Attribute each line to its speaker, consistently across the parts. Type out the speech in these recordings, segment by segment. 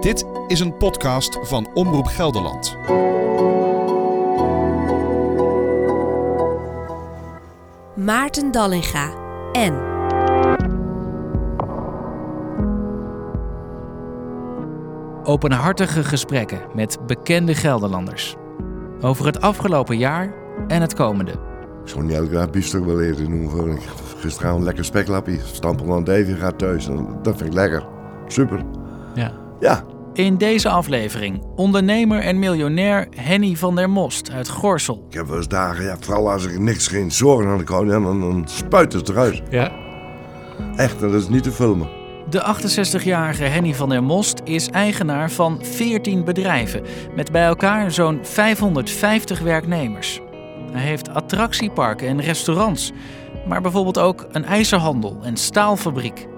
Speaker 1: Dit is een podcast van Omroep Gelderland.
Speaker 2: Maarten Dallinga en
Speaker 3: openhartige gesprekken met bekende Gelderlanders. Over het afgelopen jaar en het komende.
Speaker 4: Ik zou niet elke dag biefstuk wel eten doen. Voor een- Gisteravond lekker speklapje. Stampel aan Davy gaat thuis. En Dat vind ik lekker. Super.
Speaker 3: Ja.
Speaker 4: Ja,
Speaker 3: In deze aflevering ondernemer en miljonair Henny van der Most uit Gorsel.
Speaker 4: ik heb wel eens dagen, ja, vooral als ik niks, geen zorgen aan de koning heb, dan, dan spuit het eruit.
Speaker 3: Ja.
Speaker 4: Echt, en dat is niet te filmen.
Speaker 3: De 68-jarige Henny van der Most is eigenaar van 14 bedrijven met bij elkaar zo'n 550 werknemers. Hij heeft attractieparken en restaurants, maar bijvoorbeeld ook een ijzerhandel en staalfabriek.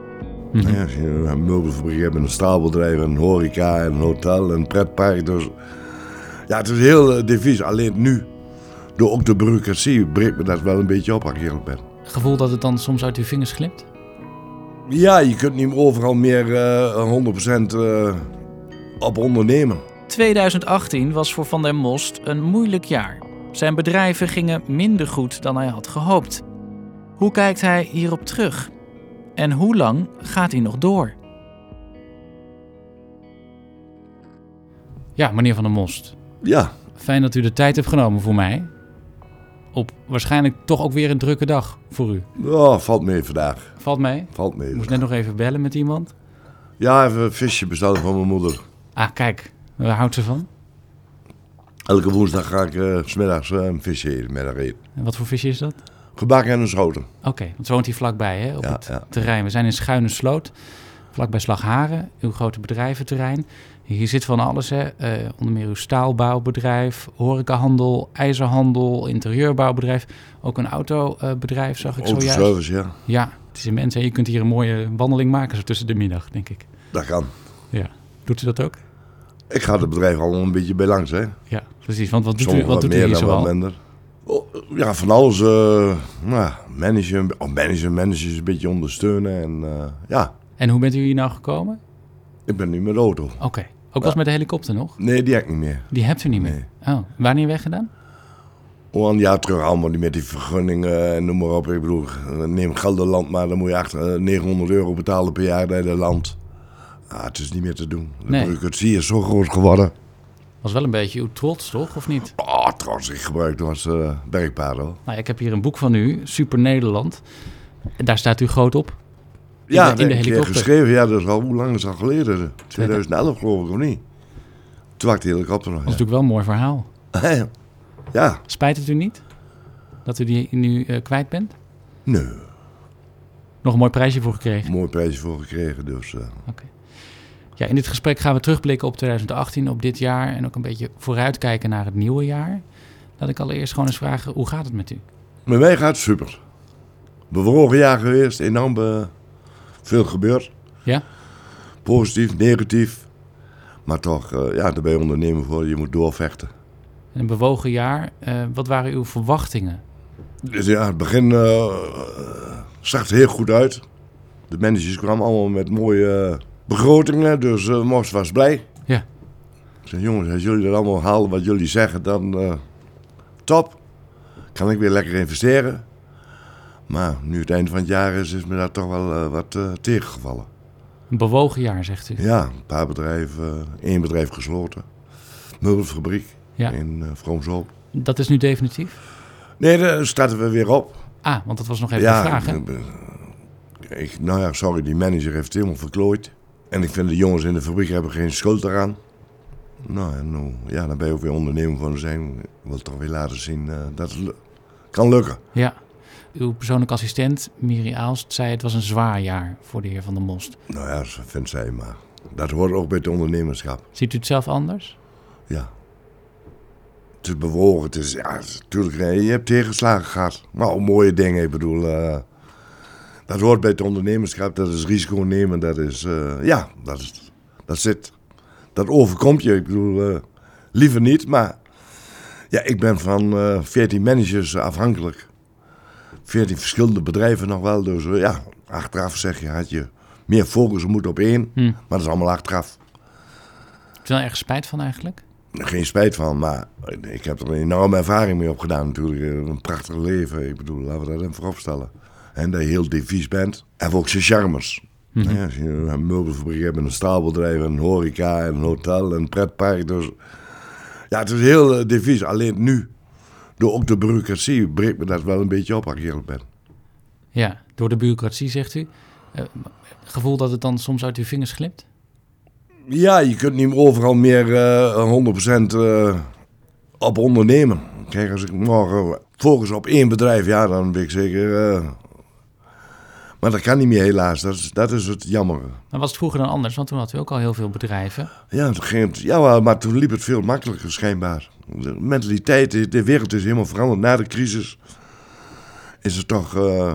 Speaker 3: Mhm.
Speaker 4: Ja, als je een meubelfabriek hebt, en een staalbedrijf, en een horeca, en een hotel, en een pretpark. Dus ja, het is heel eh, diffuus. Alleen nu, door ook de bureaucratie, breekt me dat wel een beetje op, als ik eerlijk ben.
Speaker 5: gevoel dat het dan soms uit uw vingers glipt?
Speaker 4: Ja, je kunt niet overal meer eh 100% eh, op ondernemen.
Speaker 3: 2018 was voor Van der Most een moeilijk jaar. Zijn bedrijven gingen minder goed dan hij had gehoopt. Hoe kijkt hij hierop terug? En hoe lang gaat hij nog door?
Speaker 5: Ja, meneer Van der Most.
Speaker 4: Ja,
Speaker 5: Fijn dat u de tijd hebt genomen voor mij. Op waarschijnlijk toch ook weer een drukke dag voor u.
Speaker 4: oh, valt mee vandaag.
Speaker 5: Valt mee?
Speaker 4: Valt mee.
Speaker 5: Ik moest net nog even bellen met iemand.
Speaker 4: Ja, even een visje bestellen van mijn moeder.
Speaker 5: Ah, kijk. Waar houdt ze van?
Speaker 4: Elke woensdag ga ik eh, 's smiddags eh, een visje eten, middag eten.
Speaker 5: En wat voor visje is dat?
Speaker 4: Gebakken en een schoten.
Speaker 5: Oké, want ze woont hier vlakbij, hè? Op
Speaker 4: Ja,
Speaker 5: het
Speaker 4: ja.
Speaker 5: terrein. We zijn in Schuine Sloot, vlakbij Slagharen, uw grote bedrijventerrein. Hier zit van alles, hè? Eh, onder meer uw staalbouwbedrijf, horecahandel, ijzerhandel, interieurbouwbedrijf. Ook een autobedrijf zag ik zojuist.
Speaker 4: Autoservice, ja.
Speaker 5: Ja, het is immens. En je kunt hier een mooie wandeling maken zo tussen de middag, denk ik.
Speaker 4: Dat kan.
Speaker 5: Ja. Doet u dat ook?
Speaker 4: Ik ga het bedrijf al een beetje bij langs, hè.
Speaker 5: Ja, precies. Want wat doet u,
Speaker 4: Sommigen
Speaker 5: wat doet u hier
Speaker 4: dan
Speaker 5: zoal?
Speaker 4: minder. Oh, Ja, van alles. eh nou, managen, oh, managen, managers een beetje ondersteunen. En eh, ja,
Speaker 5: En hoe bent u hier nou gekomen?
Speaker 4: ik ben nu met de auto.
Speaker 5: Oké. Ook was met de helikopter nog?
Speaker 4: Nee, die heb ik niet meer.
Speaker 5: Die hebt u niet meer? Oh, wanneer weggedaan?
Speaker 4: Oh, een jaar terug allemaal niet met die vergunningen en noem maar op. Ik bedoel, neem Gelderland maar, dan moet je achter, eh, 900 euro betalen per jaar naar dat land. Ah, het is niet meer te doen. De
Speaker 5: Nee.
Speaker 4: bureaucratie is zo groot geworden.
Speaker 5: Was wel een beetje uw trots, toch? Of niet?
Speaker 4: Oh, trouwens, ik gebruik het als eh werkpaard hoor.
Speaker 5: Nou, ik heb hier een boek van u, Super Nederland. En daar staat u groot op.
Speaker 4: Ja,
Speaker 5: in de
Speaker 4: ik heb
Speaker 5: helikopter.
Speaker 4: geschreven, ja, dat is al, hoe lang is dat geleden? 2011 geloof ik, of niet? Toen had ik de helikopter nog.
Speaker 5: Dat is
Speaker 4: ja.
Speaker 5: natuurlijk wel een mooi verhaal.
Speaker 4: ja,
Speaker 5: Spijt het u niet dat u die nu eh, kwijt bent?
Speaker 4: nee,
Speaker 5: Nog een mooi prijsje voor gekregen.
Speaker 4: mooi prijsje voor gekregen, dus... eh,
Speaker 5: Ja, in dit gesprek gaan we terugblikken op 2018, op dit jaar. En ook een beetje vooruitkijken naar het nieuwe jaar. Laat ik allereerst gewoon eens vragen, hoe gaat het met u?
Speaker 4: Met mij gaat het super. Bewogen jaar geweest, enorm be- veel gebeurd.
Speaker 5: Ja?
Speaker 4: Positief, negatief. Maar toch, eh, ja, daar ben je ondernemer voor, je moet doorvechten.
Speaker 5: Een bewogen jaar. eh, wat waren uw verwachtingen?
Speaker 4: Dus ja, het begin eh, zag het heel goed uit. De managers kwamen allemaal met mooie eh, begrotingen, dus eh Mos was blij.
Speaker 5: Ja.
Speaker 4: Ik zei, jongens, als jullie dat allemaal halen wat jullie zeggen, dan eh, top. Kan ik weer lekker investeren. Maar nu het einde van het jaar is, is me daar toch wel eh, wat eh, tegengevallen.
Speaker 5: Een bewogen jaar, zegt u.
Speaker 4: Ja, een paar bedrijven, eh, één bedrijf gesloten. Meubelfabriek
Speaker 5: Ja.
Speaker 4: in eh Vroomshoop.
Speaker 5: Dat is nu definitief?
Speaker 4: Nee, daar starten we weer op.
Speaker 5: Ah, want dat was nog even de vraag, hè?
Speaker 4: ik, eh, ik- nou ja, sorry, die manager heeft het helemaal verklooid. En ik vind de jongens in de fabriek hebben geen schuld daaraan. Nou, en hoe- ja, dan ben je ook weer ondernemer van zijn. Ik wil toch weer laten zien eh, dat het lu- kan lukken.
Speaker 5: Ja. Uw persoonlijke assistent, Miri Aalst, zei het was een zwaar jaar voor de heer Van der Most.
Speaker 4: Nou ja, dat vindt zij maar. Dat hoort ook bij het ondernemerschap.
Speaker 5: Ziet u het zelf anders?
Speaker 4: Ja. Het is bewogen, het is, ja, natuurlijk, je hebt tegenslagen gehad. Maar ook mooie dingen, ik bedoel. eh, dat hoort bij het ondernemerschap, dat is risico nemen, dat is, eh, ja, dat, is, dat zit. Dat overkomt je, ik bedoel, eh, liever niet, maar ja, ik ben van eh 14 managers afhankelijk. 14 verschillende bedrijven nog wel, dus eh, ja, achteraf zeg je, had je meer focus moeten op één, maar dat is allemaal achteraf.
Speaker 5: je wel erg spijt van eigenlijk?
Speaker 4: Geen spijt van, maar ik heb er een enorme ervaring mee opgedaan natuurlijk. Eh, Een prachtig leven, ik bedoel, laten we dat even vooropstellen. En dat je heel devies bent. En ook zijn charmers. Ja, als je een meubelfabriek hebt, en een staalbedrijf, en een horeca, en een hotel, en een pretpark. Dus ja, het is heel eh, devies. Alleen nu, door ook de bureaucratie, breekt me dat wel een beetje op als ik eerlijk ben.
Speaker 5: Ja, door de bureaucratie zegt u. Eh, gevoel dat het dan soms uit uw vingers glipt?
Speaker 4: Ja, je kunt niet overal meer eh 100% eh, op ondernemen. Kijk, als ik morgen focus op één bedrijf, ja, dan ben ik zeker. eh, maar dat kan niet meer, helaas. Dat is, dat is het jammer.
Speaker 5: Maar was het vroeger dan anders? Want toen had u ook al heel veel bedrijven.
Speaker 4: Ja, toen ging het- ja, maar- maar toen liep het veel makkelijker, schijnbaar. De mentaliteit, de- de wereld is helemaal veranderd. Na de crisis is het toch. eh,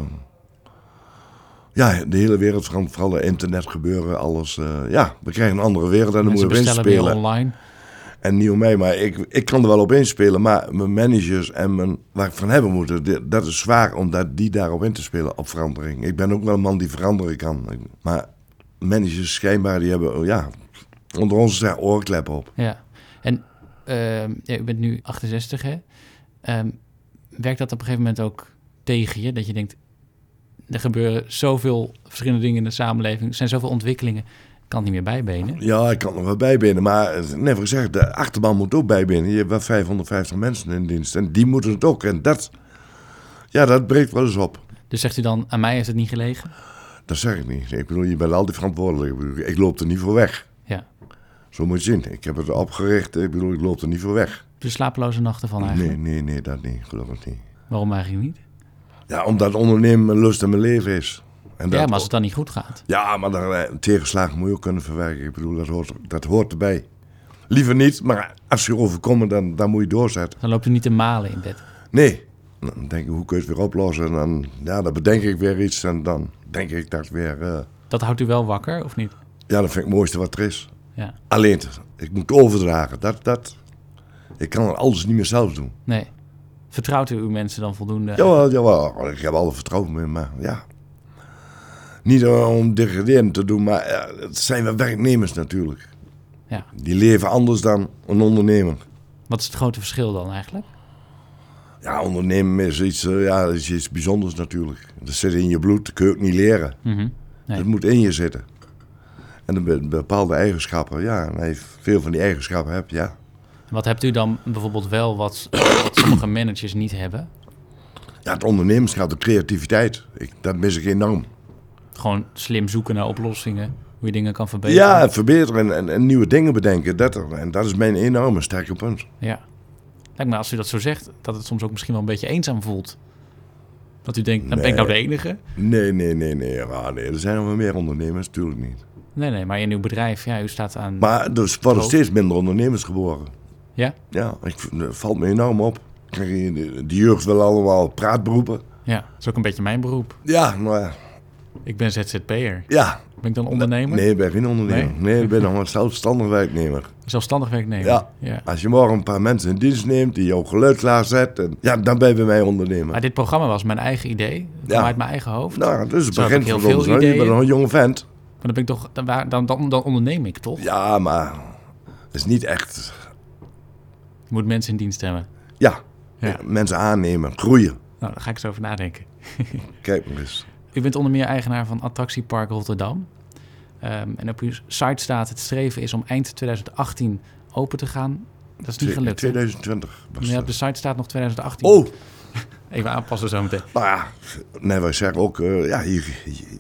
Speaker 4: ja, de hele wereld verandert, vooral de internet gebeuren, alles. eh, ja, we krijgen een andere wereld en dan
Speaker 5: Mensen
Speaker 4: moeten we
Speaker 5: bestellen weer
Speaker 4: inspelen.
Speaker 5: online.
Speaker 4: En niet om mij, maar ik, ik kan er wel op inspelen. Maar mijn managers en mijn, waar ik van hebben moeten, di- dat is zwaar om dat, die daarop in te spelen, op verandering. Ik ben ook wel een man die veranderen kan. Ik- Maar managers schijnbaar, die hebben, ja, onder ons is daar oorkleppen op.
Speaker 5: Ja. En ehm, ja, u bent nu 68, hè? Ehm, werkt dat op een gegeven moment ook tegen je? Dat je denkt, er gebeuren zoveel verschillende dingen in de samenleving. Er zijn zoveel ontwikkelingen. Ik kan het niet meer bijbenen.
Speaker 4: Ja, ik kan er wel bijbinnen, maar eh, net gezegd, de achterban moet ook bijbinnen. Je hebt wel 550 mensen in dienst en die moeten het ook. En dat, ja, dat breekt wel eens op.
Speaker 5: Dus zegt u dan, aan mij heeft het niet gelegen?
Speaker 4: Dat zeg ik niet. Ik bedoel, je bent altijd verantwoordelijk. Ik bedoel, Ik loop er niet voor weg.
Speaker 5: Ja.
Speaker 4: Zo moet je het zien. Ik heb het opgericht. Ik bedoel, ik loop er niet voor weg.
Speaker 5: Dus slapeloze nachten van eigenlijk?
Speaker 4: Nee, nee, nee, dat niet. Gelukkig niet.
Speaker 5: Waarom eigenlijk niet?
Speaker 4: Ja, omdat ondernemen mijn lust en mijn leven is. En dat,
Speaker 5: Ja, maar als het dan niet goed gaat.
Speaker 4: Ja, maar dan, eh, tegenslagen moet je ook kunnen verwerken. Ik bedoel, dat hoort, dat hoort erbij. Liever niet, maar als je overkomen, dan, dan moet je doorzetten.
Speaker 5: Dan loopt u niet te malen in bed.
Speaker 4: Nee. Dan denk ik, hoe kun je het weer oplossen? En dan, ja, dan bedenk ik weer iets en dan denk ik dat weer... eh,
Speaker 5: Dat houdt u wel wakker, of niet?
Speaker 4: ja, dat vind ik het mooiste wat er is.
Speaker 5: Ja.
Speaker 4: Alleen, ik moet overdragen. Dat, dat, ik kan alles niet meer zelf doen.
Speaker 5: Nee. Vertrouwt u uw mensen dan voldoende?
Speaker 4: Jawel, jawel. Ik heb alle vertrouwen in, maar ja. Niet om degraderend te doen, maar eh, het zijn wel werknemers natuurlijk.
Speaker 5: Ja.
Speaker 4: Die leven anders dan een ondernemer.
Speaker 5: Wat is het grote verschil dan eigenlijk?
Speaker 4: Ja, ondernemen is iets, eh, ja, is iets bijzonders natuurlijk. Dat zit in je bloed, dat kun je ook niet leren.
Speaker 5: Mhm. Nee.
Speaker 4: Dat moet in je zitten. En dan be- bepaalde eigenschappen, ja. En hij veel van die eigenschappen heb, ja.
Speaker 5: Wat hebt u dan bijvoorbeeld wel wat, wat sommige managers niet hebben?
Speaker 4: Ja, het ondernemerschap, de creativiteit, ik, dat mis ik enorm.
Speaker 5: Gewoon slim zoeken naar oplossingen, hoe je dingen kan verbeteren.
Speaker 4: Ja, verbeteren en, en, en nieuwe dingen bedenken. Dat, en dat is mijn enorme sterke punt.
Speaker 5: ja. Lijkt me als u dat zo zegt, dat het soms ook misschien wel een beetje eenzaam voelt. Dat u denkt, dan ben ik nou de enige.
Speaker 4: Nee, nee, nee, nee. Ah, nee. Er zijn nog wel meer ondernemers, natuurlijk niet.
Speaker 5: Nee, nee, maar in uw bedrijf, ja, u staat aan...
Speaker 4: Maar er worden
Speaker 5: Klopt.
Speaker 4: steeds minder ondernemers geboren.
Speaker 5: Ja?
Speaker 4: Ja, ik, vind- dat valt me enorm op. Kijk, die- die jeugd wil allemaal praatberoepen.
Speaker 5: Ja, dat is ook een beetje mijn beroep.
Speaker 4: Ja, maar
Speaker 5: Ik ben ZZP'er.
Speaker 4: ja.
Speaker 5: Ben ik dan ondernemer?
Speaker 4: Nee, ik ben geen ondernemer. Nee, ik ben nog een zelfstandig werknemer.
Speaker 5: Zelfstandig werknemer?
Speaker 4: Ja. Als je morgen een paar mensen in dienst neemt die jouw geluid klaarzet, en, ja, dan ben je bij mij ondernemer.
Speaker 5: Maar dit programma was mijn eigen idee. Het
Speaker 4: Ja.
Speaker 5: kwam uit mijn eigen hoofd.
Speaker 4: Nou, dat is het
Speaker 5: Zo heb
Speaker 4: begin
Speaker 5: ik heel
Speaker 4: van ons.
Speaker 5: veel
Speaker 4: hoor. Je bent
Speaker 5: ideeën.
Speaker 4: nog een jonge vent.
Speaker 5: Maar dan, ben ik toch, dan, waar- dan, dan, dan onderneem ik toch?
Speaker 4: Ja, maar het is niet echt.
Speaker 5: Je moet mensen in dienst hebben.
Speaker 4: Ja,
Speaker 5: Ja.
Speaker 4: mensen aannemen, groeien.
Speaker 5: Nou, daar ga ik eens over nadenken.
Speaker 4: Kijk maar eens.
Speaker 5: U bent onder meer eigenaar van Attractiepark Rotterdam. Ehm, en op uw site staat het streven is om eind 2018 open te gaan. Dat is niet gelukt. hè?
Speaker 4: 2020 was
Speaker 5: Nee,
Speaker 4: dat.
Speaker 5: op de site staat nog 2018.
Speaker 4: Oh,
Speaker 5: Even aanpassen zo meteen.
Speaker 4: nou ja, nee, wij zeggen ook, eh, ja, je, je-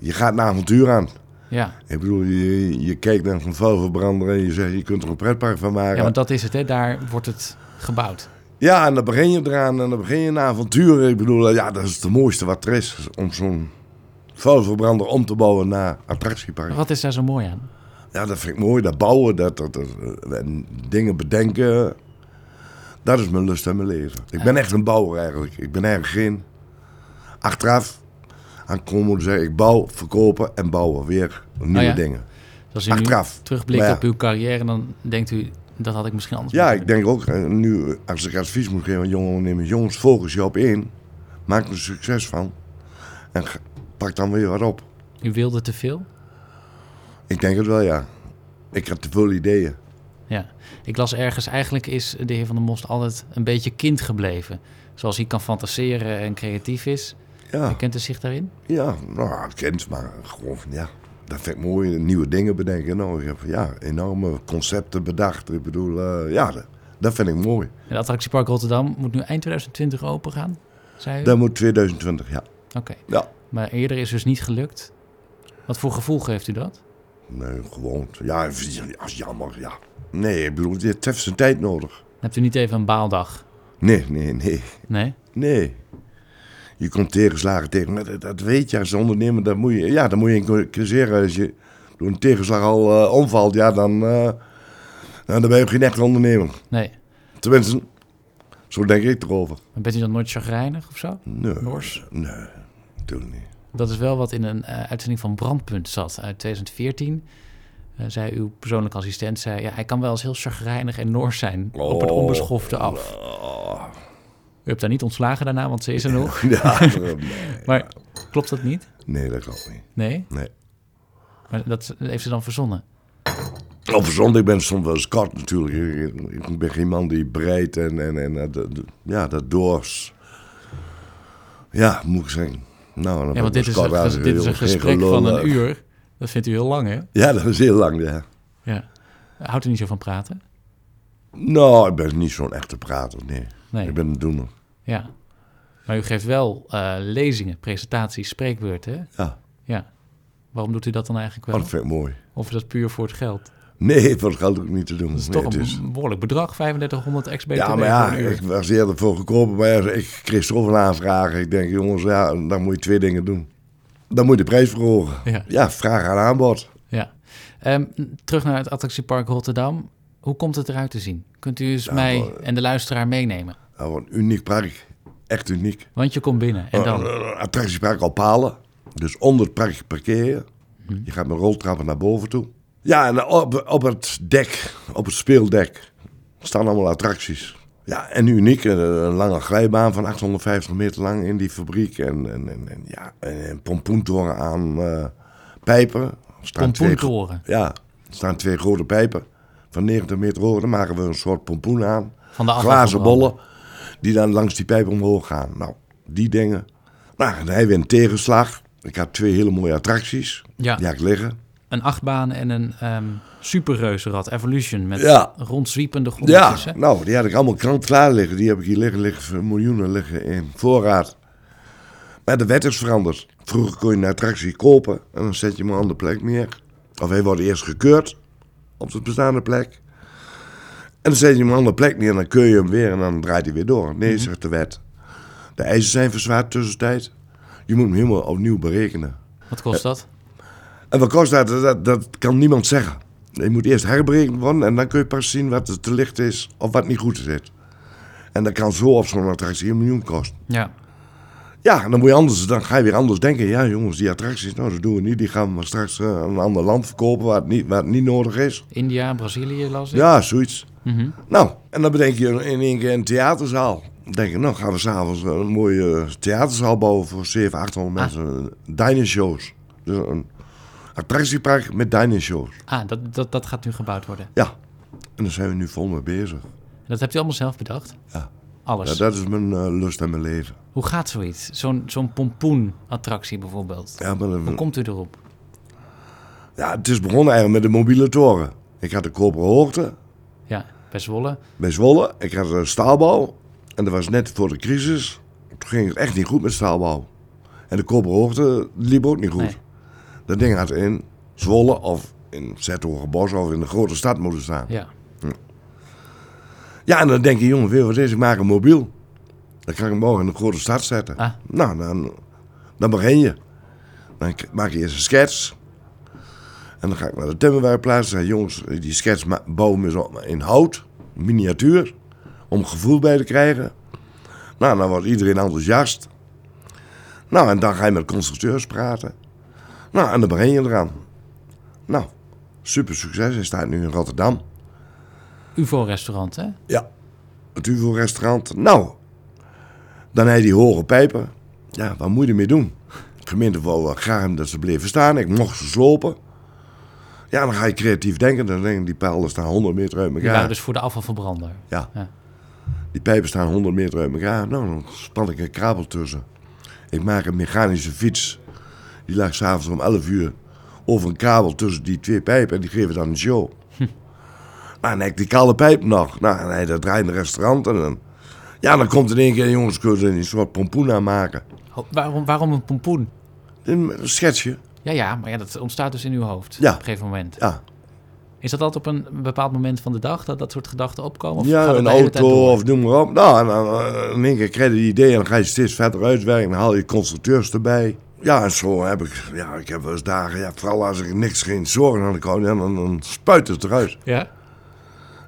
Speaker 4: je gaat naar avontuur aan.
Speaker 5: Ja.
Speaker 4: Ik bedoel, je, je kijkt naar een vuilverbrander en je zegt, je kunt er een pretpark van maken.
Speaker 5: ja,
Speaker 4: Ja,
Speaker 5: want dat is het. Hè. Daar wordt het gebouwd.
Speaker 4: en dan begin je eraan en dan begin je een avontuur. Ik bedoel, eh, ja, dat is het mooiste wat er is, om zo'n vuilverbrander om te bouwen naar attractiepark.
Speaker 5: Wat is daar zo mooi aan?
Speaker 4: Ja, dat vind ik mooi, dat bouwen, dat, dat, dat, eh, en dingen bedenken. Dat is mijn lust en mijn leven. Ik ben echt een bouwer eigenlijk. Ik ben eigenlijk geen... Achteraf aan komen moeten zeggen, ik bouw, verkopen en bouwen. Weer nieuwe
Speaker 5: Oh ja?
Speaker 4: dingen.
Speaker 5: Dus Als u nu
Speaker 4: Achteraf.
Speaker 5: terugblikt
Speaker 4: Maar ja.
Speaker 5: op uw carrière, dan denkt u, dat had ik misschien anders
Speaker 4: Ja,
Speaker 5: moeten
Speaker 4: ik denk ook, eh, nu als ik advies moet geven aan jonge ondernemers. Jongens, focus je op één. Maak er een succes van. En ga- pak dan weer wat op.
Speaker 5: doen. U wilde te veel?
Speaker 4: Ik denk het wel, ja. Ik had te veel ideeën.
Speaker 5: Ja. Ik las ergens, eigenlijk is de heer Van der Most altijd een beetje kind gebleven. Zoals hij kan fantaseren en creatief is.
Speaker 4: Ja,
Speaker 5: Herkent u zich daarin?
Speaker 4: ja nou, het kent, maar gewoon van ja. Dat vind ik mooi, nieuwe dingen bedenken. Nou, ik heb ja, enorme concepten bedacht. Ik bedoel, eh, ja, dat, dat vind ik mooi.
Speaker 5: Het attractiepark Rotterdam moet nu eind 2020 open gaan, zei u?
Speaker 4: Dat moet 2020, ja.
Speaker 5: Oké.
Speaker 4: Ja.
Speaker 5: Maar eerder is dus niet gelukt. Wat voor gevoel geeft u dat?
Speaker 4: Nee, gewoon. Ja, als jammer, ja. Nee, ik bedoel, dit heeft zijn tijd nodig.
Speaker 5: Hebt u niet even een baaldag?
Speaker 4: Nee, nee, nee,
Speaker 5: Nee?
Speaker 4: nee. Je komt tegenslagen tegen, maar dat, dat weet je als ondernemer. Dat moet je, ja, dat moet je incasseren. Als je door een tegenslag al eh, omvalt, ja, dan, eh, nou, dan ben je geen echte ondernemer.
Speaker 5: Nee.
Speaker 4: Tenminste, zo denk ik erover.
Speaker 5: Maar bent u dan nooit chagrijnig of zo?
Speaker 4: Nee,
Speaker 5: Nors?
Speaker 4: nee, natuurlijk niet.
Speaker 5: Dat is wel wat in een eh, uitzending van Brandpunt zat uit 2014. Eh zei uw persoonlijke assistent, zei, ja, hij kan wel eens heel chagrijnig en Noors zijn op het
Speaker 4: Oh.
Speaker 5: onbeschofte af.
Speaker 4: Oh,
Speaker 5: U hebt daar niet ontslagen daarna, want ze is er nog.
Speaker 4: ja, nee.
Speaker 5: Maar klopt dat niet?
Speaker 4: nee, dat klopt niet.
Speaker 5: Nee?
Speaker 4: Nee.
Speaker 5: Maar dat heeft ze dan verzonnen.
Speaker 4: Op zondag ik ben soms wel eens kort natuurlijk. Ik- Ik ik ben geen man die breidt en, en, en eh, dat- dat- ja, dat doors. Ja, moet ik zeggen. Nou, dan
Speaker 5: Ja, want dit is, een, ges- dit is een gesprek van een uur. Dat vindt u heel lang, hè?
Speaker 4: eh. Ja, dat is heel lang, ja.
Speaker 5: Ja. Houdt u niet zo van praten?
Speaker 4: Nou, ik ben niet zo'n echte prater, nee.
Speaker 5: Nee.
Speaker 4: Ik ben een doener.
Speaker 5: Ja. Maar u geeft wel eh, lezingen, presentaties, spreekbeurten, hè?
Speaker 4: Ja,
Speaker 5: Ja. Waarom doet u dat dan eigenlijk
Speaker 4: oh,
Speaker 5: wel?
Speaker 4: dat vind ik mooi.
Speaker 5: Of is dat puur voor het geld?
Speaker 4: Nee, voor het geld ook niet te doen.
Speaker 5: Dat is
Speaker 4: Nee,
Speaker 5: toch
Speaker 4: het
Speaker 5: een
Speaker 4: is-
Speaker 5: behoorlijk bedrag, 3500 ex-BTW
Speaker 4: Ja, maar ja,
Speaker 5: voor een uur.
Speaker 4: ik was eerder voor gekomen, maar ja, ik kreeg zoveel aanvragen. Ik denk, jongens, ja, dan moet je twee dingen doen. Dan moet je de prijs verhogen.
Speaker 5: Ja.
Speaker 4: Ja, vraag aan aanbod.
Speaker 5: Ja. Ehm, terug naar het attractiepark Rotterdam. Hoe komt het eruit te zien? Kunt u eens mij en de luisteraar meenemen?
Speaker 4: Nou, een uniek park. Echt uniek.
Speaker 5: Want je komt binnen
Speaker 4: Oh,
Speaker 5: en dan...
Speaker 4: Een attractiepark op palen. Dus onder het parkje parkeren.
Speaker 5: Mhm.
Speaker 4: Je gaat met roltrappen naar boven toe. Ja, en op, op het dek, op het speeldek, staan allemaal attracties. Ja, en uniek, een, een lange glijbaan van 850 meter lang in die fabriek. En, en, en, en ja, en, en pompoentoren aan eh, pijpen. Er staan twee-
Speaker 5: Pompoentoren
Speaker 4: ja, er staan twee grote pijpen van 90 meter hoog. Daar maken we een soort pompoen aan
Speaker 5: van de afval
Speaker 4: glazen
Speaker 5: van de
Speaker 4: bollen die dan langs die pijp omhoog gaan. Nou, die dingen. Nou, en hij weer een tegenslag. Ik had twee hele mooie attracties.
Speaker 5: Ja.
Speaker 4: Die had ik liggen.
Speaker 5: Een achtbaan en een ehm superreuzenrad, Evolution, met
Speaker 4: Ja.
Speaker 5: rondzwiepende
Speaker 4: Ja,
Speaker 5: grondjes. hè?
Speaker 4: nou, die had ik allemaal krant klaar liggen. Die heb ik hier liggen, liggen miljoenen liggen in voorraad. Maar de wet is veranderd. Vroeger kon je een attractie kopen en dan zet je hem aan de plek neer. Of hij wordt eerst gekeurd op de bestaande plek. En dan zet je hem aan de plek neer en dan keur je hem weer en dan draait hij weer door. Nee, zegt de wet. De eisen zijn verzwaard tussentijd. Je moet hem helemaal opnieuw berekenen.
Speaker 5: Wat kost dat?
Speaker 4: En wat kost dat? Dat, dat kan niemand zeggen. Je moet eerst herberekend worden en dan kun je pas zien wat er te licht is of wat niet goed zit. En dat kan zo op zo'n attractie een miljoen kosten.
Speaker 5: Ja.
Speaker 4: Ja, en dan, moet je anders, dan ga je weer anders denken. Ja, jongens, die attracties, nou, dat doen we niet. Die gaan we maar straks eh, aan een ander land verkopen waar het niet, waar het niet nodig is.
Speaker 5: India, Brazilië las ik.
Speaker 4: Ja, zoiets.
Speaker 5: Mhm.
Speaker 4: Nou, en dan bedenk je in één keer een theaterzaal. Dan denk je, nou gaan we s'avonds een mooie theaterzaal bouwen voor 700, 800 mensen. Dining shows. Dus een attractiepark met dining shows.
Speaker 5: Ah, dat, dat, dat gaat nu gebouwd worden.
Speaker 4: Ja, en daar zijn we nu vol mee bezig.
Speaker 5: En dat hebt u allemaal zelf bedacht?
Speaker 4: Ja.
Speaker 5: Alles.
Speaker 4: Ja, dat is mijn eh, lust en mijn leven.
Speaker 5: Hoe gaat zoiets? Zo'n zo'n pompoenattractie bijvoorbeeld.
Speaker 4: Ja, maar,
Speaker 5: Hoe
Speaker 4: eh,
Speaker 5: komt u erop?
Speaker 4: ja, het is begonnen eigenlijk met de mobiele toren. Ik had de koperen hoogte
Speaker 5: Ja, bij Zwolle.
Speaker 4: bij Zwolle. Ik had een staalbouw. En dat was net voor de crisis. Toen ging het echt niet goed met staalbouw. En de koperen hoogte liep ook niet goed.
Speaker 5: Nee.
Speaker 4: Dat ding had in Zwolle of in Zethogenbos of in de grote stad moeten staan.
Speaker 5: Ja.
Speaker 4: Ja, en dan denk je, jongen, weet je wat het is? Ik maak een mobiel. Dan kan ik hem morgen in de grote stad zetten.
Speaker 5: Ah.
Speaker 4: Nou, dan, dan begin je. Dan k- maak je eerst een skets. En dan ga ik naar de timmerwerkplaats. Zeg, jongens, die skets ma- bouw hem eens op in hout. Miniatuur. Om gevoel bij te krijgen. Nou, dan wordt iedereen enthousiast. Nou, en dan ga je met constructeurs praten. Nou, en dan begin je eraan. Nou, super succes. Hij staat nu in Rotterdam.
Speaker 5: UFO-restaurant, hè?
Speaker 4: Ja. Het UVO-restaurant. Nou, dan hij die hoge pijpen. Ja, wat eh, moet je ermee doen? De gemeente wou wel graag dat ze bleven staan. Ik mocht ze slopen. Ja, dan ga je creatief denken. Dan denk ik, die pijlen staan 100 meter uit
Speaker 5: Die waren
Speaker 4: elkaar.
Speaker 5: dus voor de afvalverbrander.
Speaker 4: Ja.
Speaker 5: Ja.
Speaker 4: Die pijpen staan 100 meter uit elkaar. Nou, dan span ik een kabel tussen. Ik maak een mechanische fiets. Die lag s'avonds om 11 uur over een kabel tussen die twee pijpen. En die geven dan een show. Maar dan heb ik die kale pijp nog. Nou, nee, dat draait in een restaurant. En dan, ja, dan komt in één keer, jongens, kunnen we er een soort pompoen aan maken.
Speaker 5: Ho- Waarom, waarom een pompoen?
Speaker 4: Een schetsje.
Speaker 5: Ja, ja, maar ja, dat ontstaat dus in uw hoofd
Speaker 4: Ja.
Speaker 5: op een gegeven moment.
Speaker 4: Ja,
Speaker 5: Is dat altijd op een bepaald moment van de dag dat dat soort gedachten opkomen? Of gaat
Speaker 4: ja
Speaker 5: het
Speaker 4: een
Speaker 5: de hele tijd
Speaker 4: auto
Speaker 5: door?
Speaker 4: of noem maar op. Nou, en dan, eh, in één keer krijg je die idee en dan ga je steeds verder uitwerken. Dan haal je constructeurs erbij. Ja, en zo heb ik, ja, ik heb wel eens dagen, ja, vooral als ik niks, geen zorgen aan de koning, ja, dan, dan spuit het eruit.
Speaker 5: Ja?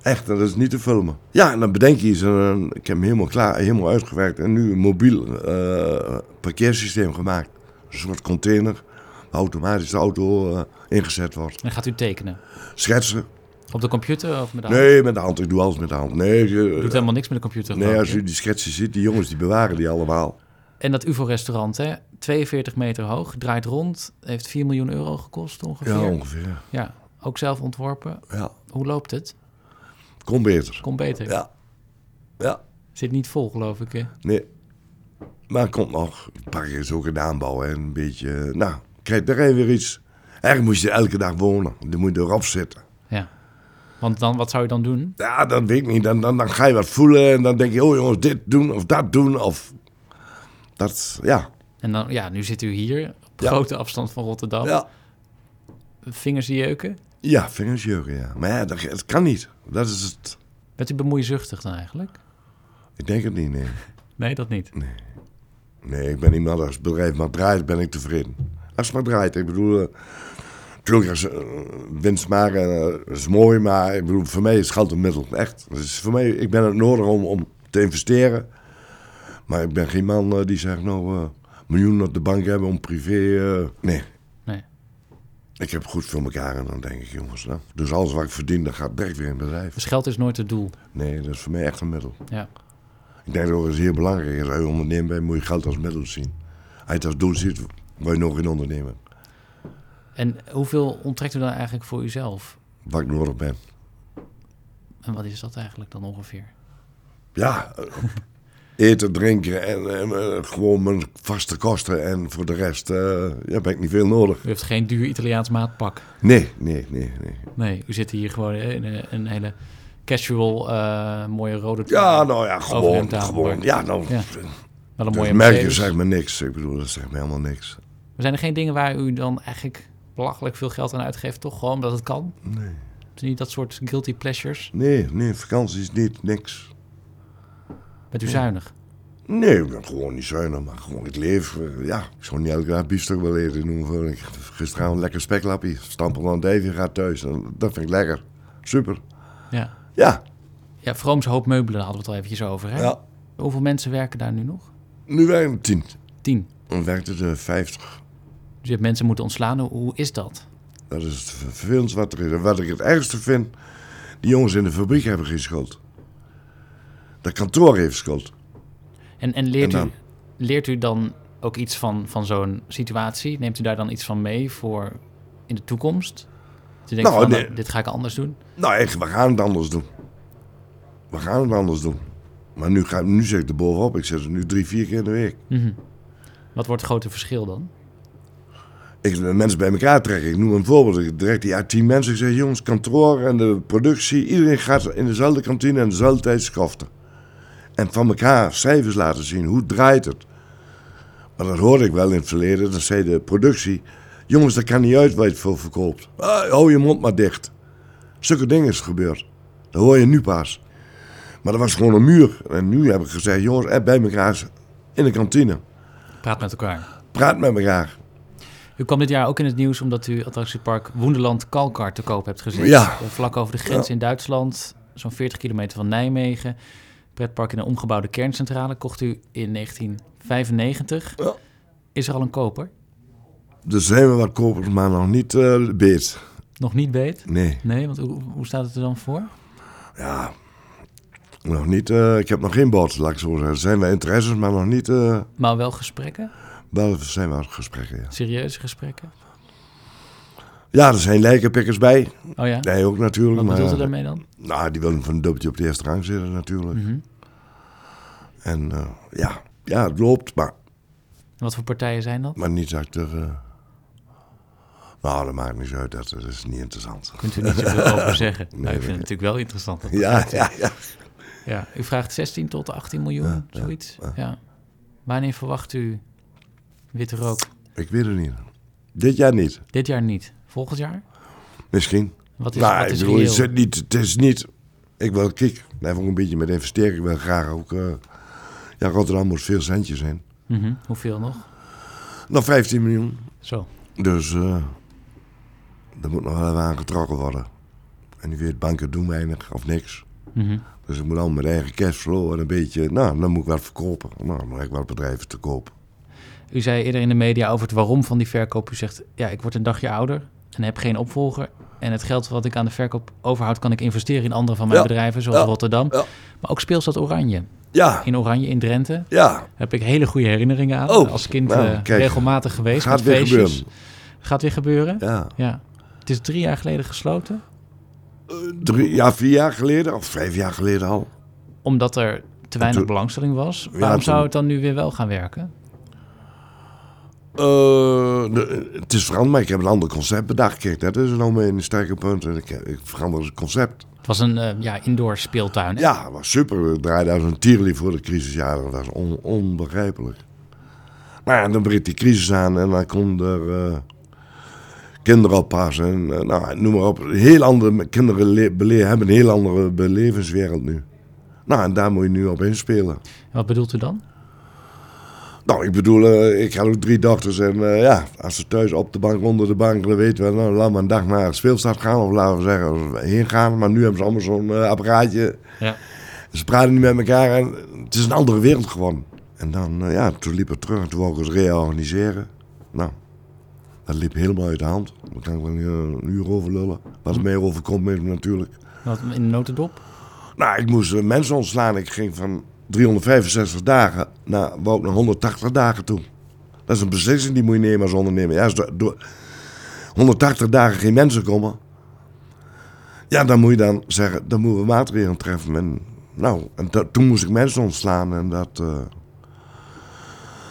Speaker 4: Echt, dat is niet te filmen. Ja, en dan bedenk je iets en dan- ik heb hem helemaal klaar, helemaal uitgewerkt en nu een mobiel eh, parkeersysteem gemaakt. Een soort container, waar automatisch de auto eh, ingezet wordt.
Speaker 5: En dan gaat u tekenen.
Speaker 4: Schetsen.
Speaker 5: Op de computer of met de hand?
Speaker 4: Nee, met de hand, ik doe alles met de hand. Nee, eh, je-
Speaker 5: U doet helemaal niks met de computer.
Speaker 4: Nee,
Speaker 5: geloof
Speaker 4: als
Speaker 5: ik.
Speaker 4: u die schetsen ziet, die jongens die bewaren die allemaal.
Speaker 5: En dat UFO-restaurant, hè? 42 meter hoog, draait rond, heeft 4 miljoen euro gekost ongeveer.
Speaker 4: Ja, ongeveer.
Speaker 5: Ja, ook zelf ontworpen.
Speaker 4: Ja,
Speaker 5: Hoe loopt het?
Speaker 4: kom beter.
Speaker 5: Komt beter.
Speaker 4: Ja. Ja.
Speaker 5: Zit niet vol, geloof ik. eh. Hè?
Speaker 4: Nee. Maar komt nog. Het park is ook een aanbouw en een beetje... eh, Nou, krijg daar even weer iets. Eigenlijk moest je elke dag wonen. Dan moet je erop zitten.
Speaker 5: Ja. Want dan, wat zou je dan doen?
Speaker 4: Ja, dat weet ik niet. Dan, dan, dan ga je wat voelen en dan denk je... Oh jongens, dit doen of dat doen of... Dat, ja.
Speaker 5: En dan, ja, nu zit u hier, op
Speaker 4: Ja.
Speaker 5: grote afstand van Rotterdam.
Speaker 4: Ja.
Speaker 5: Vingers die jeuken.
Speaker 4: Ja, vingers jeuken, ja. Maar ja, dat, het kan niet. Dat is het...
Speaker 5: Bent u bemoeizuchtig dan eigenlijk?
Speaker 4: Ik denk het niet, nee.
Speaker 5: Nee, dat niet.
Speaker 4: Nee, ik ben iemand als het bedrijf maar draait, ben ik tevreden. Als het maar draait, ik bedoel... eh, Natuurlijk, als, eh, winst maken eh, is mooi, maar ik bedoel, voor mij is geld een middel. Echt. Dus voor mij, ik ben het nodig om, om te investeren. Maar ik ben geen man eh, die zegt, nou, eh miljoenen op de bank hebben om privé... eh, nee.
Speaker 5: Nee.
Speaker 4: Ik heb goed voor elkaar en dan denk ik, jongens, nou, dus alles wat ik verdien, dat gaat direct weer in het bedrijf.
Speaker 5: Dus geld is nooit het doel.
Speaker 4: Nee, dat is voor mij echt een middel.
Speaker 5: Ja.
Speaker 4: Ik denk dat het ook heel belangrijk is. Als je ondernemer bent, moet je geld als middel zien. Als je het als doel ziet, word je nog geen ondernemer.
Speaker 5: En hoeveel onttrekt u dan eigenlijk voor uzelf?
Speaker 4: Wat ik nodig ben.
Speaker 5: En wat is dat eigenlijk dan ongeveer?
Speaker 4: Ja, eh, eten, drinken en, en, eh, gewoon mijn vaste kosten. En voor de rest eh, ja, ben ik niet veel nodig.
Speaker 5: U heeft geen duur Italiaans maatpak.
Speaker 4: Nee, nee, nee. nee.
Speaker 5: Nee, u zit hier gewoon eh, in een, een hele casual, eh, mooie rode
Speaker 4: Ja, nou ja,
Speaker 5: Overhemd
Speaker 4: gewoon.
Speaker 5: aan,
Speaker 4: gewoon
Speaker 5: maar-
Speaker 4: ja, nou,
Speaker 5: Ja, wel een
Speaker 4: dat
Speaker 5: mooie
Speaker 4: merk je
Speaker 5: Mercedes.
Speaker 4: zegt me niks. Ik bedoel, dat zegt me helemaal niks.
Speaker 5: Maar zijn er geen dingen waar u dan eigenlijk belachelijk veel geld aan uitgeeft? Toch gewoon omdat het kan? Nee. Het is niet dat soort guilty pleasures?
Speaker 4: Nee, nee, vakanties niet, niks.
Speaker 5: Bent u zuinig?
Speaker 4: Nee, ik ben gewoon niet zuinig, maar gewoon het leven. eh, Ja, ik zou niet elke dag biefstuk willen eten. Noem voor. Ik- Gisteravond lekker speklappie. Stampel aan Davy gaat thuis. En dat vind ik lekker. Super.
Speaker 5: Ja.
Speaker 4: Ja.
Speaker 5: Ja, Vrooms Hoop Meubelen, daar hadden we het al eventjes over, hè?
Speaker 4: ja.
Speaker 5: Hoeveel mensen werken daar nu nog?
Speaker 4: Nu werken we tien.
Speaker 5: Tien.
Speaker 4: Dan werkt het eh, vijftig.
Speaker 5: Dus je hebt mensen moeten ontslaan. Hoe, hoe is dat?
Speaker 4: Dat is het vervelendste wat er is. En wat ik het ergste vind, die jongens in de fabriek hebben geen schuld. Dat kantoor heeft schuld.
Speaker 5: En, en, leert,
Speaker 4: En
Speaker 5: u,
Speaker 4: dan?
Speaker 5: leert u dan ook iets van, van zo'n situatie? Neemt u daar dan iets van mee voor in de toekomst? Dat u denkt
Speaker 4: Nou,
Speaker 5: van,
Speaker 4: nee.
Speaker 5: dit ga ik anders doen?
Speaker 4: Nou echt, we gaan het anders doen. We gaan het anders doen. Maar nu, ga, nu zit ik er bovenop. Ik zit er nu drie, vier keer in de week.
Speaker 5: Wat wordt het grote verschil dan?
Speaker 4: ik de mensen bij elkaar trekken. Ik noem een voorbeeld. Ik direct die uit tien mensen. Ik zeg, jongens, kantoor en de productie. Iedereen gaat in dezelfde kantine en dezelfde tijd schaften. En van elkaar cijfers laten zien. Hoe draait het? Maar dat hoorde ik wel in het verleden. Dan zei de productie... Jongens, dat kan niet uit waar je het voor verkoopt. Ah, hou je mond maar dicht. Zulke dingen is gebeurd. Dat hoor je nu pas. Maar dat was gewoon een muur. En nu heb ik gezegd, jongens, eh, bij elkaar in de kantine.
Speaker 5: Praat met elkaar.
Speaker 4: Praat met elkaar.
Speaker 5: U kwam dit jaar ook in het nieuws omdat u attractiepark Woendeland Kalkar te koop hebt gezet.
Speaker 4: Ja.
Speaker 5: Eh, Vlak over de grens in Duitsland, zo'n 40 kilometer van Nijmegen. Pretpark in een omgebouwde kerncentrale kocht u in 1995.
Speaker 4: Ja.
Speaker 5: Is er al een koper?
Speaker 4: Dus zijn we wat kopers, maar nog niet eh beet.
Speaker 5: Nog niet beet?
Speaker 4: Nee.
Speaker 5: Nee, want hoe, hoe staat het er dan voor?
Speaker 4: Ja, nog niet. eh, ik heb nog geen bod, laat ik zo zeggen. Er zijn wel interesses, maar nog niet. eh
Speaker 5: Maar wel gesprekken?
Speaker 4: wel zijn wel gesprekken, ja.
Speaker 5: Serieuze gesprekken?
Speaker 4: Ja, er zijn lijkenpikkers bij.
Speaker 5: Oh ja?
Speaker 4: Nee, ook natuurlijk.
Speaker 5: Wat
Speaker 4: maar,
Speaker 5: bedoelt u daarmee dan?
Speaker 4: Nou, die willen van een dubbeltje op de eerste rang zitten natuurlijk.
Speaker 5: Mhm.
Speaker 4: En eh, ja, ja, het loopt, maar,
Speaker 5: En wat voor partijen zijn dat?
Speaker 4: maar niet dat ik er... eh, Nou, dat maakt niet uit. Dat, dat is niet interessant.
Speaker 5: Kunt u niet zoveel over zeggen?
Speaker 4: Nee,
Speaker 5: nou, ik
Speaker 4: dat-
Speaker 5: vind het natuurlijk wel interessant. dat-
Speaker 4: Ja, ja, ja.
Speaker 5: Ja, u vraagt 16 tot 18 miljoen,
Speaker 4: Ja, ja,
Speaker 5: zoiets. Ja, Wanneer verwacht u witte rook?
Speaker 4: Ik weet het niet. Dit jaar niet.
Speaker 5: Dit jaar niet. Volgend jaar?
Speaker 4: Misschien.
Speaker 5: Wat is,
Speaker 4: nou,
Speaker 5: wat
Speaker 4: ik
Speaker 5: is
Speaker 4: bedoel,
Speaker 5: reëel?
Speaker 4: het is, niet, het is niet... Ik wil kijk, daar vond ik een beetje met investeren. Ik wil graag ook... eh, ja, Rotterdam moet veel centjes zijn.
Speaker 5: Mhm. Hoeveel nog?
Speaker 4: Nog 15 miljoen.
Speaker 5: Zo.
Speaker 4: Dus eh er moet nog wel even aan getrokken worden. En u weet, banken doen weinig of niks.
Speaker 5: Mhm.
Speaker 4: Dus ik moet al mijn eigen cashflow en een beetje... Nou, dan moet ik wat verkopen. Nou, dan heb ik wat bedrijven te koop.
Speaker 5: U zei eerder in de media over het waarom van die verkoop. U zegt, ja, ik word een dagje ouder en heb geen opvolger. En het geld wat ik aan de verkoop overhoud, kan ik investeren in andere van mijn
Speaker 4: Ja.
Speaker 5: bedrijven, zoals
Speaker 4: Ja.
Speaker 5: Rotterdam.
Speaker 4: Ja.
Speaker 5: Maar ook speelstad Oranje.
Speaker 4: Ja,
Speaker 5: In Oranje, in Drenthe,
Speaker 4: ja.
Speaker 5: heb ik hele goede herinneringen aan.
Speaker 4: Oh,
Speaker 5: Als kind
Speaker 4: nou,
Speaker 5: eh,
Speaker 4: kijk.
Speaker 5: regelmatig geweest.
Speaker 4: Gaat
Speaker 5: met
Speaker 4: weer
Speaker 5: feestjes.
Speaker 4: gebeuren.
Speaker 5: Gaat weer gebeuren.
Speaker 4: Ja.
Speaker 5: Ja. Het is drie jaar geleden gesloten,
Speaker 4: Drie, ja, vier jaar geleden of vijf jaar geleden al.
Speaker 5: omdat er te weinig
Speaker 4: Toen-
Speaker 5: belangstelling was.
Speaker 4: Ja,
Speaker 5: Waarom zou
Speaker 4: toen-
Speaker 5: het dan nu weer wel gaan werken?
Speaker 4: Eh, de- het is veranderd, maar ik heb een ander concept bedacht. Kijk, dat is nou mijn sterke punt. En Ik, ik verander het concept.
Speaker 5: Het was een eh, ja, indoor speeltuin. hè?
Speaker 4: Ja, het was super. We draaiden als een tierlief voor de crisisjaren. Dat was on- onbegrijpelijk. Maar ja, dan breekt die crisis aan en dan komt er eh kinderen oppassen. En, eh, nou, noem maar op. Heel andere, me- kinderen le- bele- hebben een heel andere belevingswereld nu. Nou, en daar moet je nu op inspelen.
Speaker 5: En Wat bedoelt u dan?
Speaker 4: Nou, ik bedoel, eh, ik had ook drie dochters en eh, ja, als ze thuis op de bank, onder de bank, dan weten we, nou, laat maar een dag naar de speelstad gaan of laten we zeggen, heen gaan. Maar nu hebben ze allemaal zo'n eh, apparaatje.
Speaker 5: Ja.
Speaker 4: Ze praten niet met elkaar en het is een andere wereld gewoon. En dan, eh, ja, toen liep het terug en toen wou ik het reorganiseren. Nou, dat liep helemaal uit de hand. Daar kan ik wel een, een uur over lullen. Wat er mij overkomt met me natuurlijk.
Speaker 5: Wat in de notendop?
Speaker 4: Nou, ik moest eh, mensen ontslaan. Ik ging van 365 dagen naar, wou ik naar 180 dagen toe. Dat is een beslissing die moet je nemen als ondernemer. Ja, als door, door 180 dagen geen mensen komen. Ja, dan moet je dan zeggen, dan moeten we maatregelen treffen. En, nou, en dat- toen moest ik mensen ontslaan en dat... eh,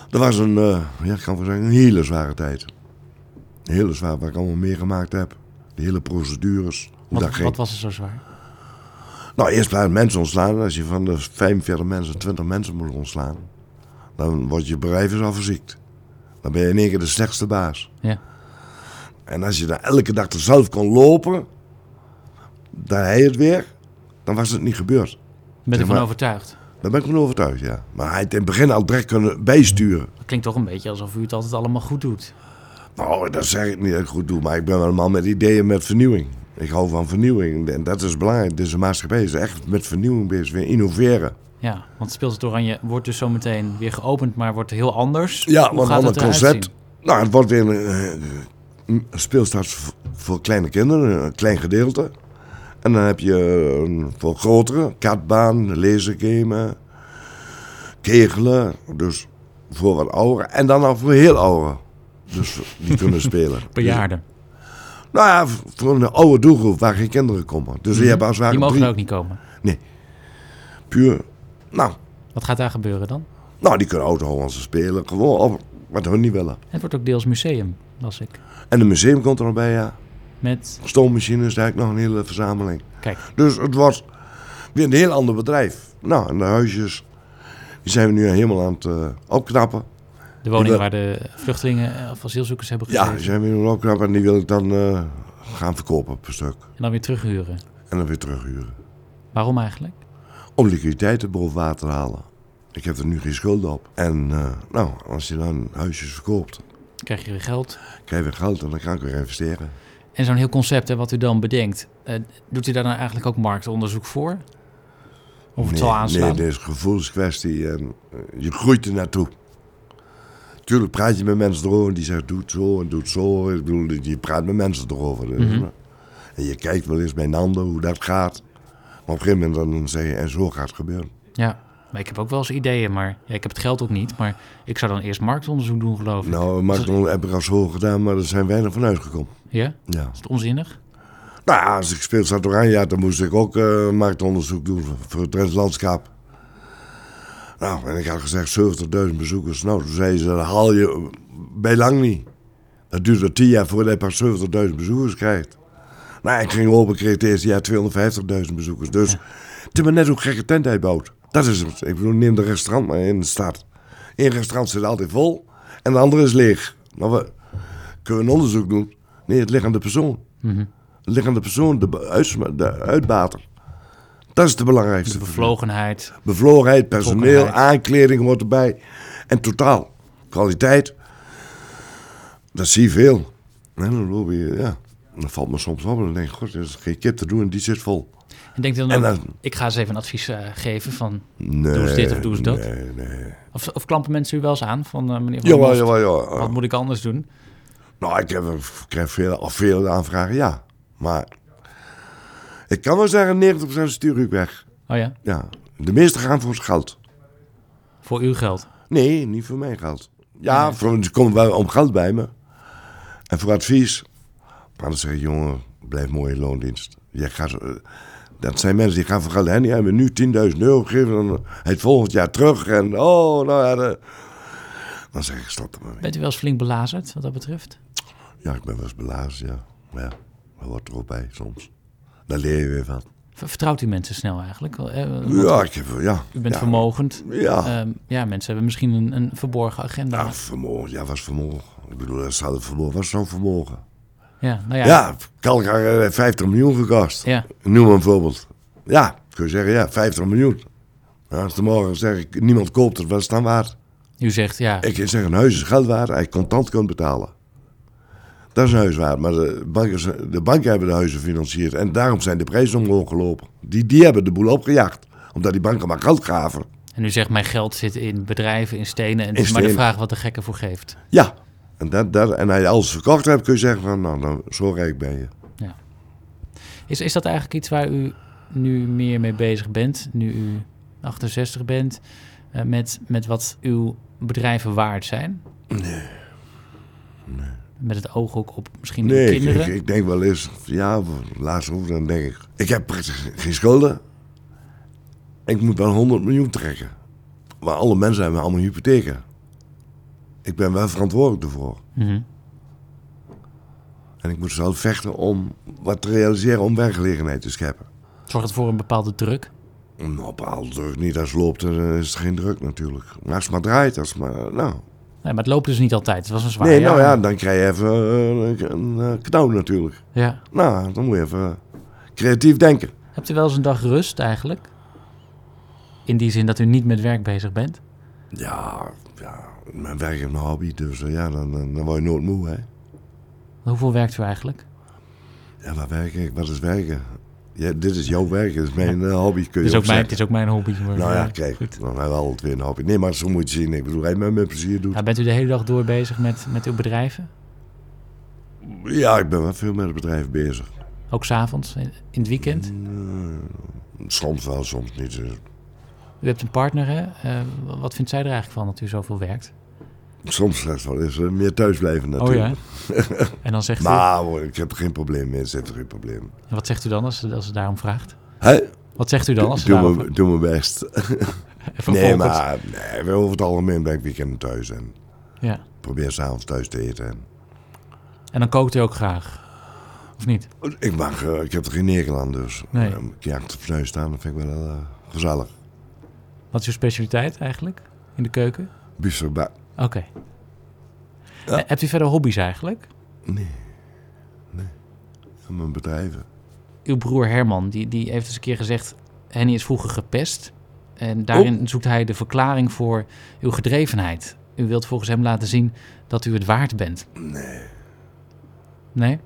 Speaker 4: dat was een, eh, ja, ik kan wel zeggen, een hele zware tijd. Een hele zwaar, waar ik allemaal meegemaakt heb. De hele procedures, hoe dat
Speaker 5: Wat,
Speaker 4: ging.
Speaker 5: wat was er zo zwaar?
Speaker 4: Nou, eerst blijven mensen ontslaan. Als je van de 45 mensen 20 mensen moet ontslaan, dan wordt je bedrijf is al verziekt. Dan ben je in één keer de slechtste baas.
Speaker 5: Ja.
Speaker 4: En als je dan elke dag er zelf kon lopen, dan hij het weer, dan was het niet gebeurd.
Speaker 5: Bent u
Speaker 4: Zeg
Speaker 5: van
Speaker 4: maar-
Speaker 5: overtuigd?
Speaker 4: Daar ben ik van overtuigd, ja. Maar hij had in het begin al direct kunnen bijsturen.
Speaker 5: Dat klinkt toch een beetje alsof u het altijd allemaal goed doet.
Speaker 4: Nou, dat zeg ik niet dat ik goed doe, maar ik ben wel een man met ideeën met vernieuwing. Ik hou van vernieuwing en dat is belangrijk. Deze maatschappij is echt met vernieuwing bezig, weer innoveren.
Speaker 5: Ja, want Speelstad Oranje wordt dus zometeen weer geopend, maar wordt heel anders.
Speaker 4: Ja,
Speaker 5: Hoe
Speaker 4: want
Speaker 5: gaat
Speaker 4: een ander
Speaker 5: het eruit
Speaker 4: concept.
Speaker 5: zien?
Speaker 4: Nou, het wordt weer een, eh, een speelstad v- voor kleine kinderen, een klein gedeelte. En dan heb je eh, een voor grotere, katbaan, lasergamen, kegelen. Dus voor wat ouderen. En dan al voor heel ouderen. Dus die kunnen spelen.
Speaker 5: Bejaarden.
Speaker 4: Dus- nou ja, v- voor een oude doelgroep waar geen kinderen komen. Dus je hebt als het
Speaker 5: Mhm. Die
Speaker 4: ware
Speaker 5: mogen
Speaker 4: drie
Speaker 5: ook niet komen.
Speaker 4: puur... Nou,
Speaker 5: Wat gaat daar gebeuren dan?
Speaker 4: nou, die kunnen oud-Hollandse spelen. Gewoon op wat hun niet willen.
Speaker 5: Het wordt ook deels museum, las ik.
Speaker 4: En een museum komt er nog bij, ja.
Speaker 5: Met,
Speaker 4: stoommachines, daar heb ik nog een hele verzameling.
Speaker 5: kijk,
Speaker 4: Dus het was weer een heel ander bedrijf. Nou, en de huisjes, die zijn we nu helemaal aan het eh, opknappen.
Speaker 5: de woning
Speaker 4: wil-
Speaker 5: waar de vluchtelingen eh, of asielzoekers hebben gezeten.
Speaker 4: Ja, die zijn we nu aan het opknappen en die wil ik dan eh, gaan verkopen per stuk.
Speaker 5: En dan weer terughuren.
Speaker 4: En dan weer terughuren.
Speaker 5: Waarom eigenlijk?
Speaker 4: Om liquiditeiten boven water te halen. Ik heb er nu geen schulden op. En eh, nou, als je dan huisjes verkoopt,
Speaker 5: Krijg je weer geld?
Speaker 4: krijg je weer geld en dan kan ik weer investeren.
Speaker 5: En zo'n heel concept, hè, wat u dan bedenkt, eh, doet u daar dan eigenlijk ook marktonderzoek voor? Of het
Speaker 4: nee,
Speaker 5: zal aanslaan?
Speaker 4: Nee, dit is een gevoelskwestie en eh, je groeit er naartoe. Tuurlijk praat je met mensen erover en die zeggen doe het zo en doe het zo. Ik bedoel, je praat met mensen erover. dus,
Speaker 5: Mhm.
Speaker 4: eh, En je kijkt wel eens bij een ander hoe dat gaat. Maar op een gegeven moment dan zeg je en zo gaat het gebeuren.
Speaker 5: Ja. Maar ik heb ook wel eens ideeën, maar ja, ik heb het geld ook niet. Maar ik zou dan eerst marktonderzoek doen, geloof ik.
Speaker 4: Nou, Macron heb ik al zo gedaan, maar er zijn weinig van uitgekomen.
Speaker 5: Ja? Is
Speaker 4: Ja.
Speaker 5: het onzinnig?
Speaker 4: Nou ja, als ik speelde zat Oranje had, dan moest ik ook eh, marktonderzoek doen voor- voor het Drents Landschap. Nou, en ik had gezegd 70.000 bezoekers. Nou, toen zei ze, dat haal je bij lang niet. Dat duurt er 10 jaar voordat je pas 70.000 bezoekers krijgt. Nou, ik ging open, kreeg het eerste jaar 250.000 bezoekers. Dus het is maar net hoe gek een tent uitbouwt. Dat is het. Ik bedoel, neem de restaurant maar in de stad. Eén restaurant zit altijd vol en de andere is leeg. Nou, we kunnen we een onderzoek doen. Nee, het ligt aan de persoon liggende persoon, de, be- uitsma- de uitbater. Dat is de belangrijkste.
Speaker 5: De bevlogenheid.
Speaker 4: Bevlogenheid, personeel,
Speaker 5: Betrokkenheid.
Speaker 4: aankleding hoort erbij. En totaal. Kwaliteit. Dat zie je veel. En dan loop je, ja. Dat valt me soms op. En dan denk ik, god, er is geen kip te doen en die zit vol.
Speaker 5: En denk je dan
Speaker 4: En
Speaker 5: ook,
Speaker 4: dan-
Speaker 5: ik ga eens even een advies eh, geven van...
Speaker 4: Nee,
Speaker 5: eens dit of doe eens dat.
Speaker 4: Nee, nee.
Speaker 5: Of, of klampen mensen u wel eens aan van eh, meneer Van der
Speaker 4: Jawel,
Speaker 5: Most,
Speaker 4: jawel, jawel.
Speaker 5: Wat moet ik anders doen?
Speaker 4: Nou, ik, heb, ik krijg veel, al veel aanvragen, ja. Maar ik kan wel zeggen, 90% stuur ik weg.
Speaker 5: Oh ja,
Speaker 4: Ja. De meeste gaan voor het geld.
Speaker 5: voor uw geld.
Speaker 4: Nee, niet voor mijn geld. Ja, voor, ze komen wel om geld bij me. En voor advies. Maar dan zeg ik, jongen, blijf mooi in loondienst. Jij gaat, eh, dat zijn mensen die gaan voor geld. Henny, hebben nu 10.000 euro gegeven. Dan eh, het volgend jaar terug. En oh, nou ja. de- Dan zeg ik, stop er maar mee.
Speaker 5: Bent u wel eens flink belazerd wat dat betreft?
Speaker 4: Ja, ik ben wel eens belazerd, ja. Maar ja, dat wordt er ook bij soms. Daar leer je weer van.
Speaker 5: Ver- Vertrouwt u mensen snel eigenlijk? Wel, eh, want
Speaker 4: Ja, ik heb, ja.
Speaker 5: U bent
Speaker 4: ja.
Speaker 5: vermogend.
Speaker 4: Ja.
Speaker 5: Ehm, ja, mensen hebben misschien een, een verborgen agenda.
Speaker 4: Ja, vermogen. Ja, was vermogen. Ik bedoel, dat zou vermogen. Was zo'n vermogen.
Speaker 5: Ja, nou ja.
Speaker 4: Ja, Kalkar heeft 50 miljoen gekost.
Speaker 5: Ja.
Speaker 4: Noem maar een voorbeeld. Ja, kun je zeggen, ja, 50 miljoen. Nou, als de morgen zeg ik, niemand koopt het, wat is het dan waard?
Speaker 5: U zegt ja,
Speaker 4: Ik zeg, een huis is geld waard, als je contant kunt betalen. Dat is een huis waard, maar de banken, zijn- de banken hebben de huizen gefinancierd. En daarom zijn de prijzen omhoog gelopen. Die, die hebben de boel opgejaagd, omdat die banken maar geld gaven.
Speaker 5: en u zegt mijn geld zit in bedrijven, in stenen. En het
Speaker 4: In
Speaker 5: is maar de
Speaker 4: stenen.
Speaker 5: vraag wat de gekke voor geeft.
Speaker 4: Ja, en, dat, dat, en als je alles verkocht hebt, kun je zeggen van, nou, nou zo rijk ben je.
Speaker 5: Is, is dat eigenlijk iets waar u nu meer mee bezig bent, nu u 68 bent, eh, met, met wat uw bedrijven waard zijn? Met het oog ook op misschien uw
Speaker 4: Nee, ik,
Speaker 5: kinderen?
Speaker 4: ik- ik denk wel eens, ja, laatst hoef dan denk ik. Ik heb praktisch geen schulden. Ik moet wel 100 miljoen trekken. Maar alle mensen hebben allemaal hypotheken. Ik ben wel verantwoordelijk ervoor.
Speaker 5: Mhm.
Speaker 4: En ik moet zelf vechten om wat te realiseren, om werkgelegenheid te scheppen.
Speaker 5: Zorgt het voor een bepaalde druk?
Speaker 4: Nou, bepaald druk niet. Als het loopt, dan is het geen druk natuurlijk. Maar als het maar draait, als het maar... Nou,
Speaker 5: Nee, maar het loopt dus niet altijd. Het was een zwaar
Speaker 4: nee,
Speaker 5: jaar.
Speaker 4: nou ja, dan krijg je even eh, een eh, knauw natuurlijk.
Speaker 5: ja.
Speaker 4: Nou, dan moet je even eh, creatief denken.
Speaker 5: Hebt u wel eens een dag rust eigenlijk? In die zin dat u niet met werk bezig bent?
Speaker 4: Ja, ja, mijn werk is mijn hobby, dus eh, ja, dan, dan, dan word je nooit moe, hè.
Speaker 5: Hoeveel werkt u eigenlijk?
Speaker 4: Ja, maar werken, wat is werken? Ja, dit is jouw werk, dit is mijn eh, hobby, kun
Speaker 5: Het
Speaker 4: je
Speaker 5: is, ook mijn, het
Speaker 4: zeggen.
Speaker 5: is ook mijn hobby. maar-
Speaker 4: Nou ja, kijk,
Speaker 5: Goed.
Speaker 4: dan hebben we altijd weer een hobby. Nee, maar zo moet je het zien. Ik bedoel, hij met mijn plezier doet.
Speaker 5: Nou, bent u de hele dag door bezig met, met uw bedrijven?
Speaker 4: Ja, ik ben wel veel met het bedrijf bezig.
Speaker 5: Ook s'avonds, in in het weekend?
Speaker 4: Mm. Soms wel, soms niet. eh,
Speaker 5: U hebt een partner, hè? Eh, wa- wat vindt zij er eigenlijk van dat u zoveel werkt?
Speaker 4: Soms slechts wel eens eh, meer thuisblijven natuurlijk.
Speaker 5: Oh ja. En dan zegt u...
Speaker 4: Maar hoor, ik heb geen probleem meer, ze heeft er geen probleem.
Speaker 5: En wat zegt u dan als ze, als ze daarom vraagt?
Speaker 4: Hè?
Speaker 5: Wat zegt u dan als ze
Speaker 4: Doe,
Speaker 5: daarom
Speaker 4: me, doe mijn best. Nee,
Speaker 5: vervolgens-
Speaker 4: maar nee, over het algemeen ben ik weekenden thuis en
Speaker 5: Ja.
Speaker 4: probeer s'avonds thuis te eten. En
Speaker 5: En dan kookt u ook graag? Of niet?
Speaker 4: Ik mag, eh, ik heb er geen nekel aan, dus
Speaker 5: Nee.
Speaker 4: eh, een keer achter de snuif staan, dat vind ik wel eh, gezellig.
Speaker 5: Wat is uw specialiteit eigenlijk in de keuken?
Speaker 4: Biefstuk
Speaker 5: Oké. Eh, Hebt u verder hobby's eigenlijk?
Speaker 4: van mijn bedrijven.
Speaker 5: Uw broer Herman, die, die heeft eens een keer gezegd... Henny is vroeger gepest. En daarin zoekt hij de verklaring voor uw gedrevenheid. U wilt volgens hem laten zien dat u het waard bent. Nee. Nee?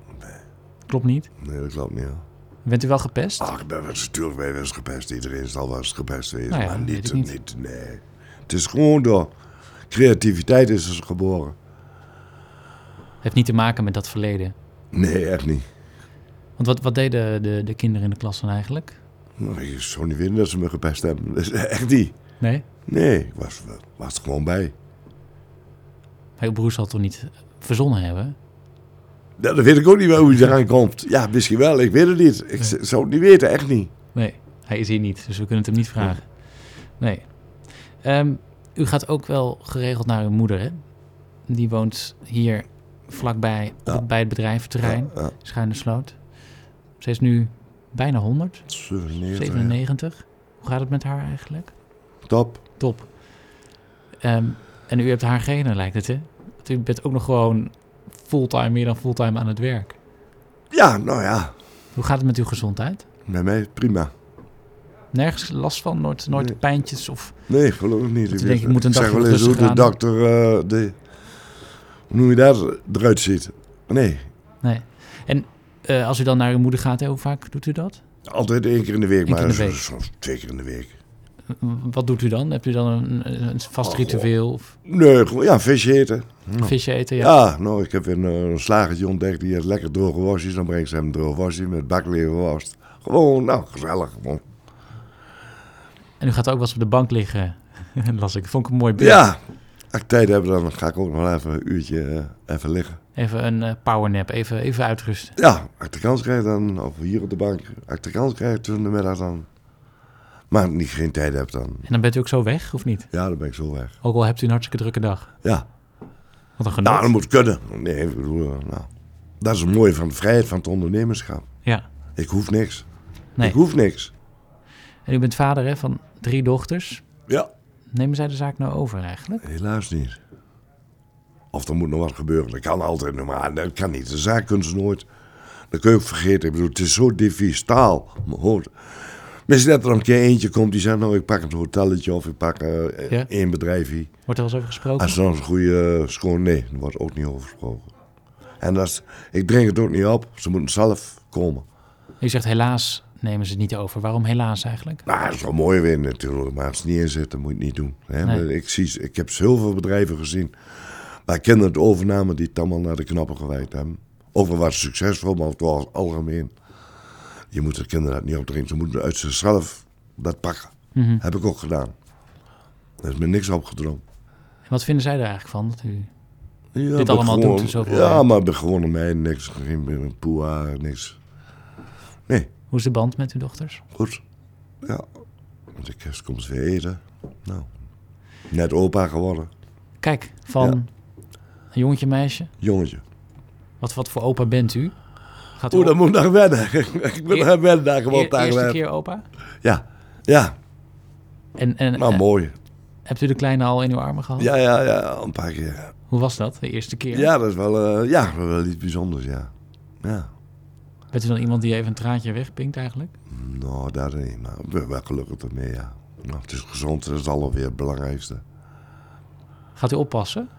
Speaker 5: Klopt niet?
Speaker 4: Nee, dat klopt niet. hoor.
Speaker 5: Bent u wel gepest?
Speaker 4: Ach, ik ben wel natuurlijk ben je wel eens gepest. Iedereen zal wel eens gepest wezen,
Speaker 5: Nou ja,
Speaker 4: maar
Speaker 5: weet
Speaker 4: niet,
Speaker 5: ik
Speaker 4: niet.
Speaker 5: niet.
Speaker 4: nee. Het is gewoon door creativiteit is het geboren.
Speaker 5: Heeft niet te maken met dat verleden.
Speaker 4: Nee, echt niet.
Speaker 5: Want wat, wat deden de, de kinderen in de klas dan eigenlijk?
Speaker 4: Nou, Ik zou niet vinden dat ze me gepest hebben. Dat is echt niet.
Speaker 5: Nee?
Speaker 4: Nee, ik was, was er gewoon bij.
Speaker 5: Maar uw broer zal het toch niet verzonnen hebben?
Speaker 4: Ja, Dat weet ik ook niet wel hoe hij eraan komt. Ja, misschien wel. Ik weet het niet. Ik z- zou het niet weten, echt niet.
Speaker 5: Nee, hij is hier niet, dus we kunnen het hem niet vragen. Nee. Ehm, u gaat ook wel geregeld naar uw moeder, hè? Die woont hier vlakbij op
Speaker 4: Ja.
Speaker 5: het- bij het bedrijventerrein,
Speaker 4: Ja, ja.
Speaker 5: Schuine Sloot. Ze is nu bijna 100,
Speaker 4: 97.
Speaker 5: 97. Hoe gaat het met haar eigenlijk?
Speaker 4: Top.
Speaker 5: Top. Ehm, en u hebt haar genen, lijkt het, hè? Want u bent ook nog gewoon fulltime, meer dan fulltime aan het werk.
Speaker 4: Ja, nou ja.
Speaker 5: Hoe gaat het met uw gezondheid?
Speaker 4: Met mij prima.
Speaker 5: Nergens last van? Nooit, nooit
Speaker 4: Nee.
Speaker 5: pijntjes of...
Speaker 4: Nee, geloof niet.
Speaker 5: denk ik,
Speaker 4: weet-
Speaker 5: ik moet een
Speaker 4: zeg
Speaker 5: dag
Speaker 4: wel
Speaker 5: wat
Speaker 4: eens hoe de
Speaker 5: rustig aan.
Speaker 4: dokter... eh, de, hoe noem je dat eruit ziet. Nee,
Speaker 5: Nee. En eh, als u dan naar uw moeder gaat, hè, hoe vaak doet u dat?
Speaker 4: altijd één keer in de week.
Speaker 5: Eén keer
Speaker 4: Maar
Speaker 5: in de week.
Speaker 4: zo- zo- twee keer in de week.
Speaker 5: W- Wat doet u dan? Hebt u dan een, een vast
Speaker 4: Oh,
Speaker 5: ritueel? Of
Speaker 4: Nee, gewoon, ja, visje eten.
Speaker 5: visje eten? Ja.
Speaker 4: Ja, nou, ik heb een, eh, een slagertje ontdekt die heeft lekker droge worstjes. Dan brengt ze hem droge worstjes met bakleverworst. Gewoon, nou, gezellig. Gewoon.
Speaker 5: En u gaat ook wel eens op de bank liggen. Las ik. Vond ik een mooi beeld.
Speaker 4: Ja, als ik tijd heb, dan ga ik ook nog wel even een uurtje eh, even liggen.
Speaker 5: Even een eh, powernap. Even, even uitrusten.
Speaker 4: Ja, als ik de kans krijg dan, of hier op de bank. Als ik de kans krijg, toen de middag dan. Maar niet geen tijd heb dan.
Speaker 5: En dan bent u ook zo weg, of niet?
Speaker 4: Ja, dan ben ik zo weg.
Speaker 5: Ook al hebt u een hartstikke drukke dag.
Speaker 4: Ja,
Speaker 5: Wat een genot.
Speaker 4: nou, dat moet kunnen. Nee, ik bedoel, eh, nou. Dat is het mooie van de vrijheid van het ondernemerschap.
Speaker 5: Ja.
Speaker 4: Ik hoef niks.
Speaker 5: Nee.
Speaker 4: Ik hoef niks.
Speaker 5: En u bent vader hè, van drie dochters.
Speaker 4: Ja.
Speaker 5: Nemen zij de zaak nou over eigenlijk?
Speaker 4: Helaas niet. Of er moet nog wat gebeuren. Dat kan altijd nog maar. Dat kan niet. De zaak kunnen ze nooit. Dat kun je ook vergeten. Ik bedoel, het is zo diffuus taal. Maar hoort. Misschien dat er een keer eentje komt die zegt: Nou, ik pak een hotelletje of ik pak eh,
Speaker 5: Ja.
Speaker 4: één bedrijf hier.
Speaker 5: Wordt er wel eens over gesproken?
Speaker 4: Als dan een goede eh, schoon. Nee, daar wordt ook niet over gesproken. En dat is, ik drink het ook niet op. Ze moeten zelf komen.
Speaker 5: U zegt helaas nemen ze het niet over. Waarom helaas eigenlijk?
Speaker 4: Nou, dat is wel mooi weer natuurlijk, maar als het niet in zit, dan moet je het niet doen. Hè?
Speaker 5: Nee.
Speaker 4: Maar Ik, zie, ik heb zoveel bedrijven gezien waar kinderen het overnamen die het allemaal naar de knappen gewijd hebben. Ook wel wat succesvol, maar het was algemeen. Je moet de kinderen dat niet opdringen, ze moeten uit zichzelf dat pakken.
Speaker 5: Mhm.
Speaker 4: Heb ik ook gedaan. Er is me niks opgedrongen.
Speaker 5: En wat vinden zij er eigenlijk van? Dat u...
Speaker 4: Ja,
Speaker 5: Dit allemaal
Speaker 4: gewoon,
Speaker 5: doet er zoveel
Speaker 4: Ja,
Speaker 5: aan.
Speaker 4: maar bij gewone mij niks, geen poeha, niks. Nee,
Speaker 5: Hoe is de band met uw dochters?
Speaker 4: Goed. Ja. Want de kerst komt ze weer eten. Nou. Net opa geworden.
Speaker 5: Kijk, van een jongetje, meisje.
Speaker 4: Jongetje.
Speaker 5: Wat, wat voor opa bent u? Gaat u
Speaker 4: Oeh, dat
Speaker 5: op-
Speaker 4: moet ik nog wennen. ik moet nog wennen daar
Speaker 5: eer-
Speaker 4: gewoon daar
Speaker 5: eerste
Speaker 4: wennen.
Speaker 5: keer opa?
Speaker 4: Ja. Ja.
Speaker 5: En, en
Speaker 4: Nou,
Speaker 5: eh,
Speaker 4: mooi.
Speaker 5: hebt u de kleine al in uw armen gehad?
Speaker 4: Ja, ja, ja. Een paar keer.
Speaker 5: Hoe was dat, de eerste keer?
Speaker 4: Ja, dat is wel, eh, ja, wel iets bijzonders, ja. Ja.
Speaker 5: Bent u dan iemand die even een traantje wegpinkt eigenlijk?
Speaker 4: Nou, daar niet. Maar ik ben wel gelukkig ermee, ja. Nou, het is gezond. Dat is alweer het belangrijkste.
Speaker 5: Gaat u oppassen?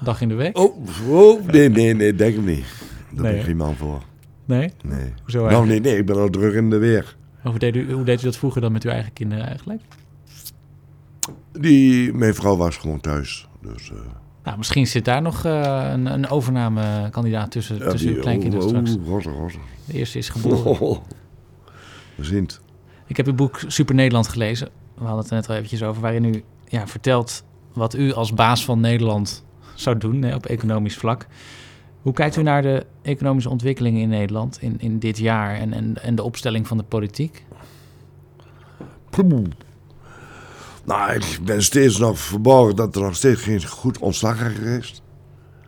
Speaker 5: Dag in de week?
Speaker 4: Oh, oh nee, nee, nee. Denk ik niet. Daar
Speaker 5: Nee,
Speaker 4: ben
Speaker 5: hè?
Speaker 4: ik geen man voor.
Speaker 5: Nee?
Speaker 4: Nee.
Speaker 5: Hoezo
Speaker 4: Nou,
Speaker 5: eigenlijk?
Speaker 4: nee, nee. Ik ben al druk in de weer.
Speaker 5: Hoe, deed u, hoe deed u dat vroeger dan met uw eigen kinderen eigenlijk?
Speaker 4: Die, mijn vrouw was gewoon thuis. Dus, eh,
Speaker 5: Nou, misschien zit daar nog eh, een, een overnamekandidaat tussen,
Speaker 4: ja,
Speaker 5: tussen
Speaker 4: die-
Speaker 5: uw kleinkinderen
Speaker 4: oh, oh,
Speaker 5: straks.
Speaker 4: God, oh, God.
Speaker 5: De eerste is geboren.
Speaker 4: We zien het.
Speaker 5: Ik heb uw boek Super Nederland gelezen. We hadden het er net al eventjes over. Waarin u ja, vertelt wat u als baas van Nederland zou doen hè, op economisch vlak. Hoe kijkt u naar de economische ontwikkelingen in Nederland in, in dit jaar en, en, en de opstelling van de politiek?
Speaker 4: Poeh. Nou, ik ben steeds nog verborgen dat er nog steeds geen goed ontslagrecht is.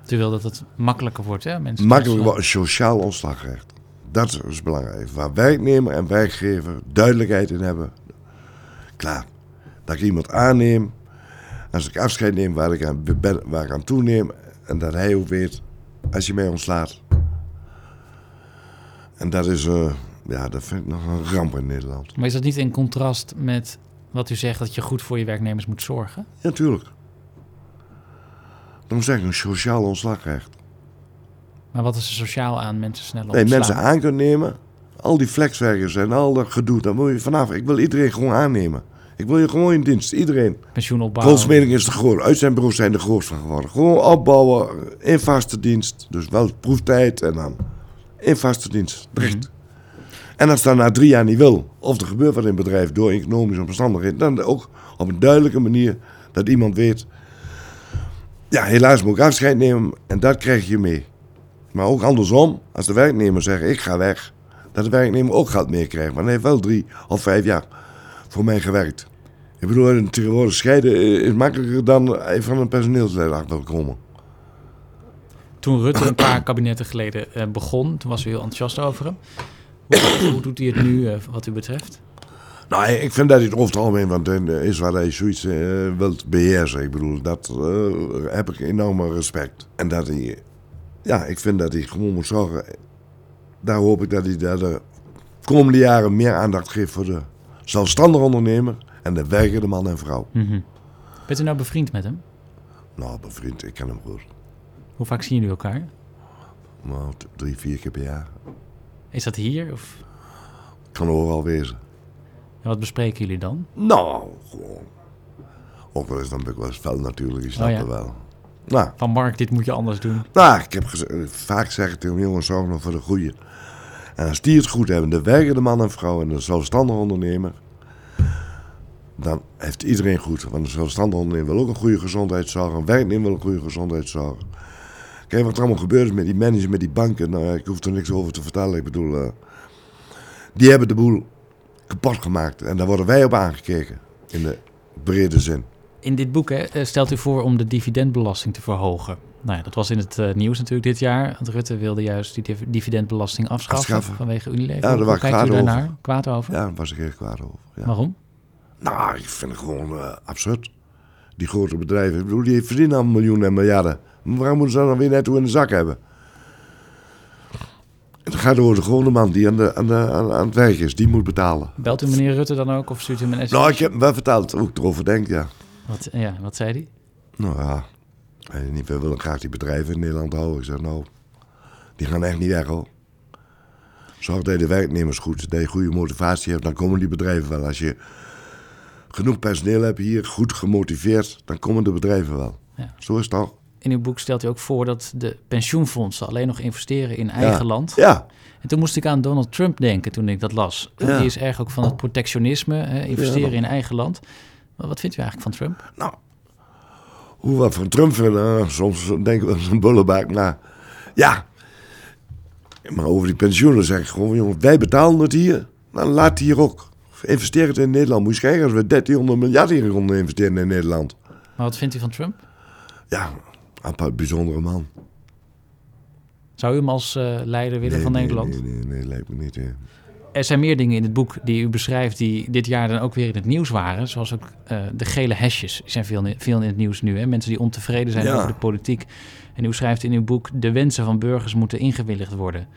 Speaker 5: Terwijl dat het makkelijker wordt, hè? Mensen
Speaker 4: Makkelijk wel een sociaal ontslagrecht. Dat is dus belangrijk. Waar werknemer en werkgever duidelijkheid in hebben. Klaar. Dat ik iemand aanneem. Als ik afscheid neem waar ik aan, ben, waar ik aan toeneem. En dat hij ook weet. Als je mij ontslaat. En dat is... eh, ja, dat vind ik nog een ramp in Nederland.
Speaker 5: Maar is dat niet in contrast met wat u zegt dat je goed voor je werknemers moet zorgen?
Speaker 4: Ja, tuurlijk. Dan zeg ik een sociaal ontslagrecht.
Speaker 5: Maar wat is er sociaal aan mensen snel
Speaker 4: Nee,
Speaker 5: ontslaan?
Speaker 4: mensen aan kunt nemen. Al die flexwerkers en al dat gedoe, daar moet je vanaf. Ik wil iedereen gewoon aannemen. Ik wil je gewoon in dienst, iedereen.
Speaker 5: pensioenopbouw.
Speaker 4: Goldsmeding is de groot, uit zijn bureau zijn de groot van geworden. Gewoon opbouwen in vaste dienst. Dus wel proeftijd en dan in vaste dienst. Recht. En En als dat na drie jaar niet wil, of er gebeurt wat in het bedrijf door economische omstandigheden, dan ook op een duidelijke manier dat iemand weet, ja, helaas moet ik afscheid nemen en dat krijg je mee. Maar ook andersom, als de werknemer zegt, ik ga weg, dat de werknemer ook gaat meekrijgen. Maar hij heeft wel drie of vijf jaar voor mij gewerkt. Ik bedoel, tegenwoordig scheiden eh, is makkelijker dan even van een personeelslid achter komen.
Speaker 5: Toen Rutte een paar kabinetten geleden eh, begon, toen was u heel enthousiast over hem. Hoe, hoe doet hij het nu eh, wat u betreft?
Speaker 4: Nou, ik vind dat hij het over het algemeen want het is waar hij zoiets eh, wilt beheersen. Ik bedoel, dat eh, heb ik enorm respect. En dat hij, ja, ik vind dat hij gewoon moet zorgen. Daar hoop ik dat hij daar de komende jaren meer aandacht geeft voor de zelfstandig ondernemer en de werkende man en vrouw.
Speaker 5: Bent u nou bevriend met hem?
Speaker 4: Nou, mijn vriend, ik ken hem goed.
Speaker 5: Hoe vaak zien jullie elkaar?
Speaker 4: Nou, t- drie, vier keer per jaar.
Speaker 5: Is dat hier? Of
Speaker 4: Kan overal wezen.
Speaker 5: en wat bespreken jullie dan?
Speaker 4: Nou, gewoon. Ook wel eens dan ben ik wel eens fel natuurlijk, je snapt
Speaker 5: ja.
Speaker 4: het wel. Nou,
Speaker 5: Van Mark, dit moet je anders doen.
Speaker 4: Nou, ik heb geze- eh, vaak zeggen tegen hem, jongens, zorg nog voor de goeie. En als die het goed hebben, de werkende man en vrouw en de zelfstandig ondernemer, dan heeft iedereen goed. Want een zelfstandig ondernemer wil ook een goede gezondheidszorg, een werknemer wil een goede gezondheidszorg. Kijk wat er allemaal gebeurd is met die managers, met die banken, nou, ja, ik hoef er niks over te vertellen. Ik bedoel, eh, die hebben de boel kapot gemaakt en daar worden wij op aangekeken, in de brede zin.
Speaker 5: In dit boek hè, eh, stelt u voor om de dividendbelasting te verhogen. Nou ja, dat was in het eh, nieuws natuurlijk dit jaar. Want Rutte wilde juist die div- dividendbelasting afschaffen,
Speaker 4: Afschaffen.
Speaker 5: vanwege Unilever.
Speaker 4: Ja, daar
Speaker 5: Hoe
Speaker 4: was ik
Speaker 5: kijkt
Speaker 4: kwaad
Speaker 5: u
Speaker 4: over.
Speaker 5: daarnaar? Kwaad over?
Speaker 4: Ja, daar was ik heel kwaad over. Ja.
Speaker 5: Waarom?
Speaker 4: Nou, ik vind het gewoon eh, absurd. Die grote bedrijven, ik bedoel, die verdienen al miljoenen en miljarden. Maar waarom moeten ze dat dan weer netto in de zak hebben? Het gaat over de gewone man die aan, de, aan, de, aan, aan het werk is. Die moet betalen.
Speaker 5: Belt u meneer Rutte dan ook of stuurt u hem een
Speaker 4: Nou, ik
Speaker 5: sms?
Speaker 4: heb hem wel verteld hoe ik erover denk, ja.
Speaker 5: Wat, ja, wat zei hij?
Speaker 4: Nou ja, weet je niet, we willen graag die bedrijven in Nederland houden. Ik zeg, nou, die gaan echt niet weg, hoor. Zorg dat je de werknemers goed, dat je goede motivatie hebt, dan komen die bedrijven wel. Als je genoeg personeel hebt hier, goed gemotiveerd, dan komen de bedrijven wel.
Speaker 5: Ja.
Speaker 4: Zo is het toch?
Speaker 5: In uw boek stelt u ook voor dat de pensioenfondsen alleen nog investeren in eigen land.
Speaker 4: Ja,
Speaker 5: En toen moest ik aan Donald Trump denken toen ik dat las.
Speaker 4: Ja.
Speaker 5: Die is erg ook van het protectionisme, hè, investeren in eigen land. Maar wat vindt u eigenlijk van Trump?
Speaker 4: nou, hoe wat van Trump vinden, eh, soms denken we dat is een bullebaak, maar ja. Maar over die pensioenen zeg ik gewoon, jongen, wij betalen het hier, dan laat het hier ook. Investeer het in Nederland. Moet je eens kijken, als we 1300 miljard hier konden investeren in Nederland.
Speaker 5: Maar wat vindt u van Trump?
Speaker 4: Ja, een paar bijzondere man.
Speaker 5: Zou u hem als eh, leider willen van
Speaker 4: Nee,
Speaker 5: Nederland?
Speaker 4: Nee, nee, nee, nee, lijkt me niet. hè.
Speaker 5: Er zijn meer dingen in het boek die u beschrijft die dit jaar dan ook weer in het nieuws waren. Zoals ook eh, de gele hesjes. Die zijn veel, in- veel in het nieuws nu. Hè? Mensen die ontevreden zijn
Speaker 4: Ja.
Speaker 5: over de politiek. En u schrijft in uw boek, de wensen van burgers moeten ingewilligd worden.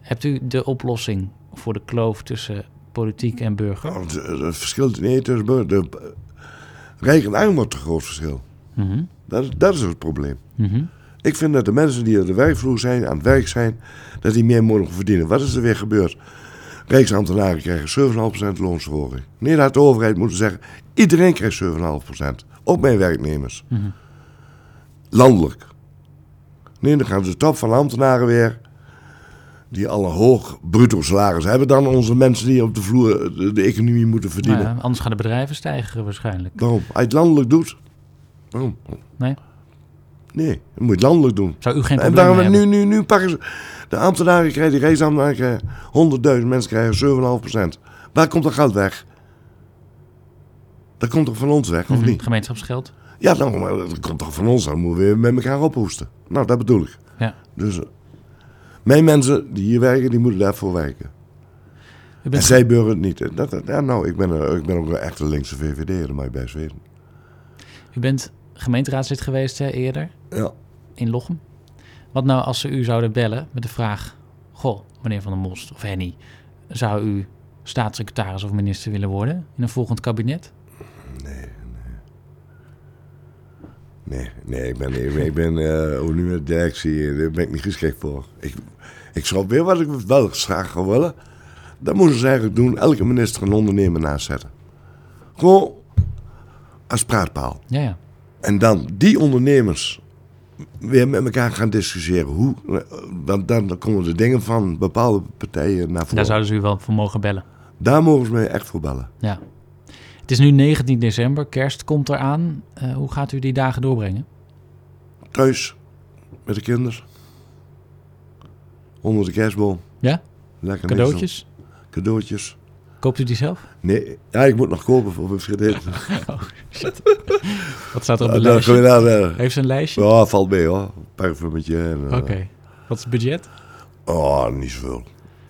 Speaker 5: Hebt u de oplossing voor de kloof tussen politiek en burger?
Speaker 4: Nou, het, het verschil nee, tussen bur- de, rijk en arm wordt een groot verschil.
Speaker 5: Mhm,
Speaker 4: Dat, is- dat is het probleem.
Speaker 5: mhm.
Speaker 4: Ik vind dat de mensen die op de werkvloer zijn, aan het werk zijn, dat die meer mogen verdienen. Wat is er weer gebeurd? Rijksambtenaren krijgen 7,5% loonsverhoging. Nee, dat had de overheid moeten zeggen, iedereen krijgt 7,5%. Ook mijn werknemers. Landelijk. Nee, dan gaan de top van de ambtenaren weer, die al een hoog bruto salaris hebben dan onze mensen die op de vloer de, de economie moeten
Speaker 5: Nou
Speaker 4: verdienen.
Speaker 5: ja, anders gaan de bedrijven stijgen waarschijnlijk.
Speaker 4: Waarom? Als je het landelijk doet, waarom?
Speaker 5: Nee?
Speaker 4: Nee, dan moet je het landelijk doen.
Speaker 5: Zou u geen
Speaker 4: En
Speaker 5: probleem
Speaker 4: daarom
Speaker 5: hebben?
Speaker 4: nu, nu, nu pakken ze. De ambtenaren krijgen, die reisambtenaren krijgen, 100.000 mensen krijgen 7,5%. Waar komt dat geld weg? Dat komt toch van ons weg, of
Speaker 5: Mhm,
Speaker 4: niet?
Speaker 5: Gemeenschapsgeld.
Speaker 4: Ja, dan, maar dat komt toch van ons, dan moeten we weer met elkaar ophoesten. Nou, dat bedoel ik.
Speaker 5: Ja.
Speaker 4: Dus eh, mijn mensen die hier werken, die moeten daarvoor werken.
Speaker 5: U
Speaker 4: En
Speaker 5: bent,
Speaker 4: zij beuren het niet. En Dat, dat- ja, nou, ik ben, eh, ik ben ook een echte linkse VVD, dat mag je best weten.
Speaker 5: u bent gemeenteraadslid geweest hè, eerder.
Speaker 4: Ja.
Speaker 5: in Lochem. Wat nou als ze u zouden bellen met de vraag... Goh, meneer Van der Most of Henny... zou u staatssecretaris of minister willen worden in een volgend kabinet?
Speaker 4: Nee, nee, ik ben, ik ben, ik ben eh, hoe nu met directie, daar ben ik niet geschikt voor. Ik, ik snap weer wat ik wel graag zou willen. Dat moeten ze eigenlijk doen, elke minister een ondernemer naast zetten. Gewoon als praatpaal.
Speaker 5: Ja, ja.
Speaker 4: En dan die ondernemers weer met elkaar gaan discussiëren. Hoe, eh, want dan komen de dingen van bepaalde partijen naar voren.
Speaker 5: Daar zouden ze u wel voor mogen bellen.
Speaker 4: Daar mogen ze mij echt voor bellen.
Speaker 5: Ja. Het is nu 19 december, kerst komt eraan. Eh, hoe gaat u die dagen doorbrengen?
Speaker 4: Thuis, met de kinderen. Onder de kerstboom.
Speaker 5: Ja?
Speaker 4: Lekker niks
Speaker 5: Cadeautjes?
Speaker 4: doen. Cadeautjes.
Speaker 5: Koopt u die zelf?
Speaker 4: Nee, ja, ik moet nog kopen voor mijn vriendin.
Speaker 5: Wat staat er op het
Speaker 4: Ah, dat
Speaker 5: lijstje?
Speaker 4: gewoon aan, eh,
Speaker 5: Heeft ze een lijstje?
Speaker 4: Ja, valt mee hoor. Parfummetje. en, eh,
Speaker 5: Oké. Wat is het budget?
Speaker 4: Oh, niet zoveel.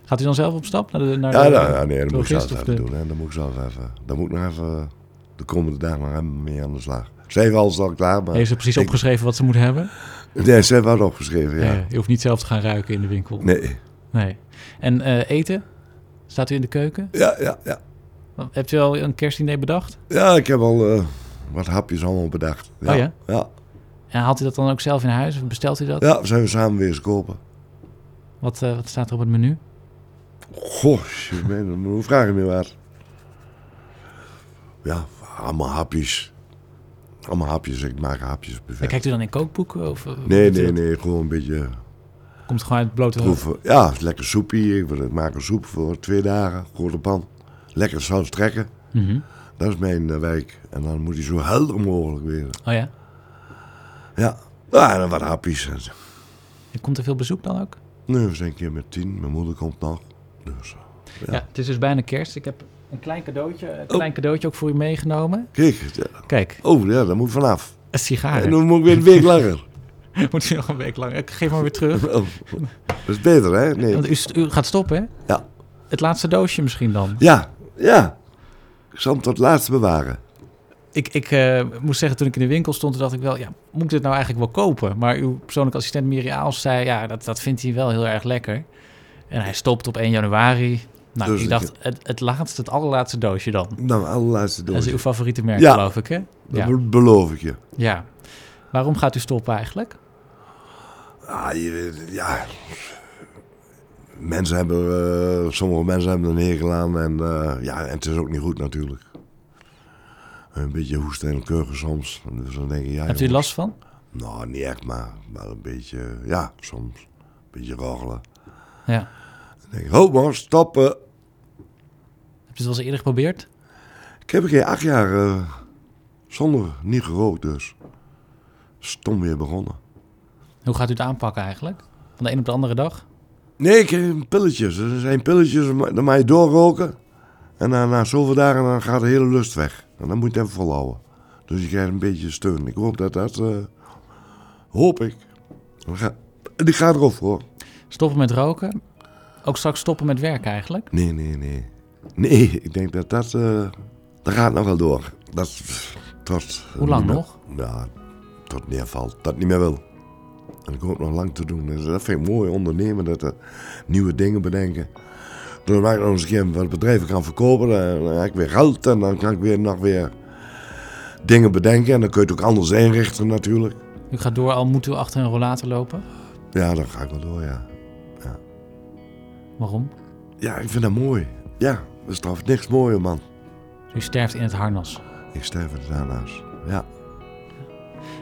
Speaker 5: Gaat u dan zelf op stap naar de, naar
Speaker 4: Ja,
Speaker 5: de-
Speaker 4: nou, ja, nee, dat moet ik
Speaker 5: drogist
Speaker 4: zelf
Speaker 5: of
Speaker 4: even
Speaker 5: de-
Speaker 4: doen. Hè. Dat moet ik zelf even. Dat moet ik nog even de komende dagen maar even mee aan de slag. Ze heeft alles al klaar, maar...
Speaker 5: Heeft ze precies
Speaker 4: Ik-
Speaker 5: opgeschreven wat ze moet hebben?
Speaker 4: Nee, ze heeft wel opgeschreven, ja.
Speaker 5: Eh, je hoeft niet zelf te gaan ruiken in de winkel.
Speaker 4: Nee.
Speaker 5: Nee. En eh, eten? Staat u in de keuken?
Speaker 4: Ja, ja, ja.
Speaker 5: Hebt u al een kerstdiner bedacht?
Speaker 4: Ja, ik heb al eh, wat hapjes allemaal bedacht.
Speaker 5: Oh ja?
Speaker 4: Ja,
Speaker 5: En haalt u dat dan ook zelf in huis? Of bestelt u dat?
Speaker 4: ja zijn we samen weer eens kopen.
Speaker 5: Wat, eh, wat staat er op het menu?
Speaker 4: Goh, je bent- hoe vraag je me wat? Ja, allemaal hapjes. Allemaal hapjes, ik maak hapjes
Speaker 5: En
Speaker 4: buffet.
Speaker 5: kijkt u dan in kookboeken? Of, eh, hoe
Speaker 4: Nee,
Speaker 5: doet u
Speaker 4: nee,
Speaker 5: dat?
Speaker 4: nee, gewoon een beetje
Speaker 5: Komt gewoon uit het blote hoofd?
Speaker 4: proeven. Ja, lekker soepie. Ik wil- ik maak een soep voor twee dagen, grote pan. Lekker saus trekken.
Speaker 5: Mhm.
Speaker 4: Dat is mijn eh, wijk. En dan moet hij zo helder mogelijk weer.
Speaker 5: Oh ja?
Speaker 4: Ja, ja en wat hapjes. En-
Speaker 5: En komt er veel bezoek dan ook?
Speaker 4: Nee, we zijn een keer met tien. Mijn moeder komt nog. Dus.
Speaker 5: Ja. het is dus bijna kerst. Ik heb een klein cadeautje, een
Speaker 4: Oh.
Speaker 5: klein cadeautje ook voor u meegenomen.
Speaker 4: Kijk, ja.
Speaker 5: Kijk,
Speaker 4: oh ja, dat moet vanaf.
Speaker 5: een sigaar.
Speaker 4: En dan moet ik weer een week langer.
Speaker 5: Moet u nog een week lang. Ik geef maar weer terug.
Speaker 4: Oh, dat is beter, hè? Nee.
Speaker 5: Want u, st- u gaat stoppen, hè?
Speaker 4: Ja.
Speaker 5: Het laatste doosje misschien dan.
Speaker 4: Ja, ja. Ik zal hem tot het laatst bewaren.
Speaker 5: Ik, ik eh, moet zeggen, toen ik in de winkel stond, toen dacht ik wel, ja, moet ik dit nou eigenlijk wel kopen? Maar uw persoonlijke assistent Miri Aals zei, ja, dat, dat vindt hij wel heel erg lekker. En hij stopt op 1 januari. Nou,
Speaker 4: Dus
Speaker 5: ik
Speaker 4: ik-
Speaker 5: dacht, het, het laatste, het allerlaatste doosje dan.
Speaker 4: Nou, allerlaatste
Speaker 5: Dat is
Speaker 4: doosje.
Speaker 5: uw favoriete merk,
Speaker 4: Ja.
Speaker 5: geloof ik, hè?
Speaker 4: Dat
Speaker 5: Ja.
Speaker 4: be- beloof ik je.
Speaker 5: ja. Waarom gaat u stoppen eigenlijk?
Speaker 4: Ah, je weet- ja. Mensen hebben, eh, sommige mensen hebben een hekel aan en, eh, ja, en het is ook niet goed natuurlijk. Een beetje hoesten en kurken soms. Dus dan denk je, ja,
Speaker 5: Hebt u er
Speaker 4: jongens,
Speaker 5: last van?
Speaker 4: Nou, niet echt, maar, maar een beetje, ja, soms. Een beetje roggelen.
Speaker 5: Ja.
Speaker 4: Dan denk ik, ho man, stoppen.
Speaker 5: Heb je het wel eens eerder geprobeerd?
Speaker 4: Ik heb een keer acht jaar eh, zonder niet gerookt dus. Stom weer begonnen.
Speaker 5: Hoe gaat u het aanpakken eigenlijk? Van de een op de andere dag?
Speaker 4: Nee, ik kreeg pilletjes. Er zijn pilletjes, ma- dan mag je doorroken. En na, na zoveel dagen dan gaat de hele lust weg. En dan moet je het even volhouden. Dus je krijgt een beetje steun. Ik hoop dat dat... eh, hoop ik. Dan ga, die gaat erop hoor.
Speaker 5: Stoppen met roken? Ook straks stoppen met werk eigenlijk?
Speaker 4: Nee, nee, nee. Nee, ik denk dat dat... eh, dat gaat nog wel door. Dat is tot...
Speaker 5: Hoe lang nog?
Speaker 4: Ja, tot neervalt. Dat niet meer wil. En ik hoop nog lang te doen. Dus Dat vind ik mooi, ondernemen. Dat eh, nieuwe dingen bedenken. Dan maak ik nog eens een keer wat bedrijven gaan verkopen. Dan dan heb ik weer geld en dan kan ik weer nog weer dingen bedenken. En dan kun je het ook anders inrichten natuurlijk.
Speaker 5: U gaat door, al moet u achter een rollator lopen?
Speaker 4: Ja, dan ga ik wel door, ja.
Speaker 5: Waarom?
Speaker 4: Ja, ik vind dat mooi. Ja, er is trouwens niks mooier, man.
Speaker 5: U sterft in het harnas.
Speaker 4: Ik sterf in het daarnaast. Ja.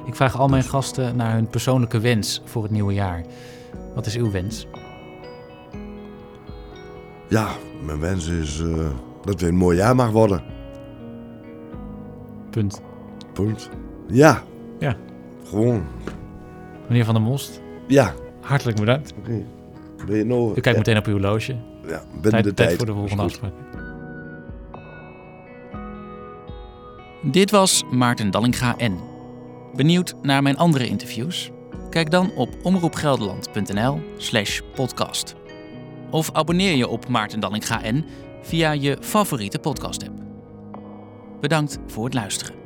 Speaker 5: Ik vraag al mijn gasten naar hun persoonlijke wens voor het nieuwe jaar. Wat is uw wens?
Speaker 4: Ja, mijn wens is eh, dat het een mooi jaar mag worden.
Speaker 5: Punt.
Speaker 4: Punt. Ja.
Speaker 5: Ja.
Speaker 4: Gewoon.
Speaker 5: Meneer Van der Most,
Speaker 4: Ja.
Speaker 5: hartelijk bedankt.
Speaker 4: Oké. Ben je nou...
Speaker 5: U kijkt meteen op uw horloge.
Speaker 4: Ja, binnen
Speaker 5: Tijd,
Speaker 4: de tijd.
Speaker 5: tijd voor de volgende
Speaker 4: Goed.
Speaker 5: afspraak.
Speaker 3: Dit was Maarten Dallinga N. Benieuwd naar mijn andere interviews? Kijk dan op omroepgelderland.nl/slash podcast. Of abonneer je op Maarten Dallinga N via je favoriete podcast-app. Bedankt voor het luisteren.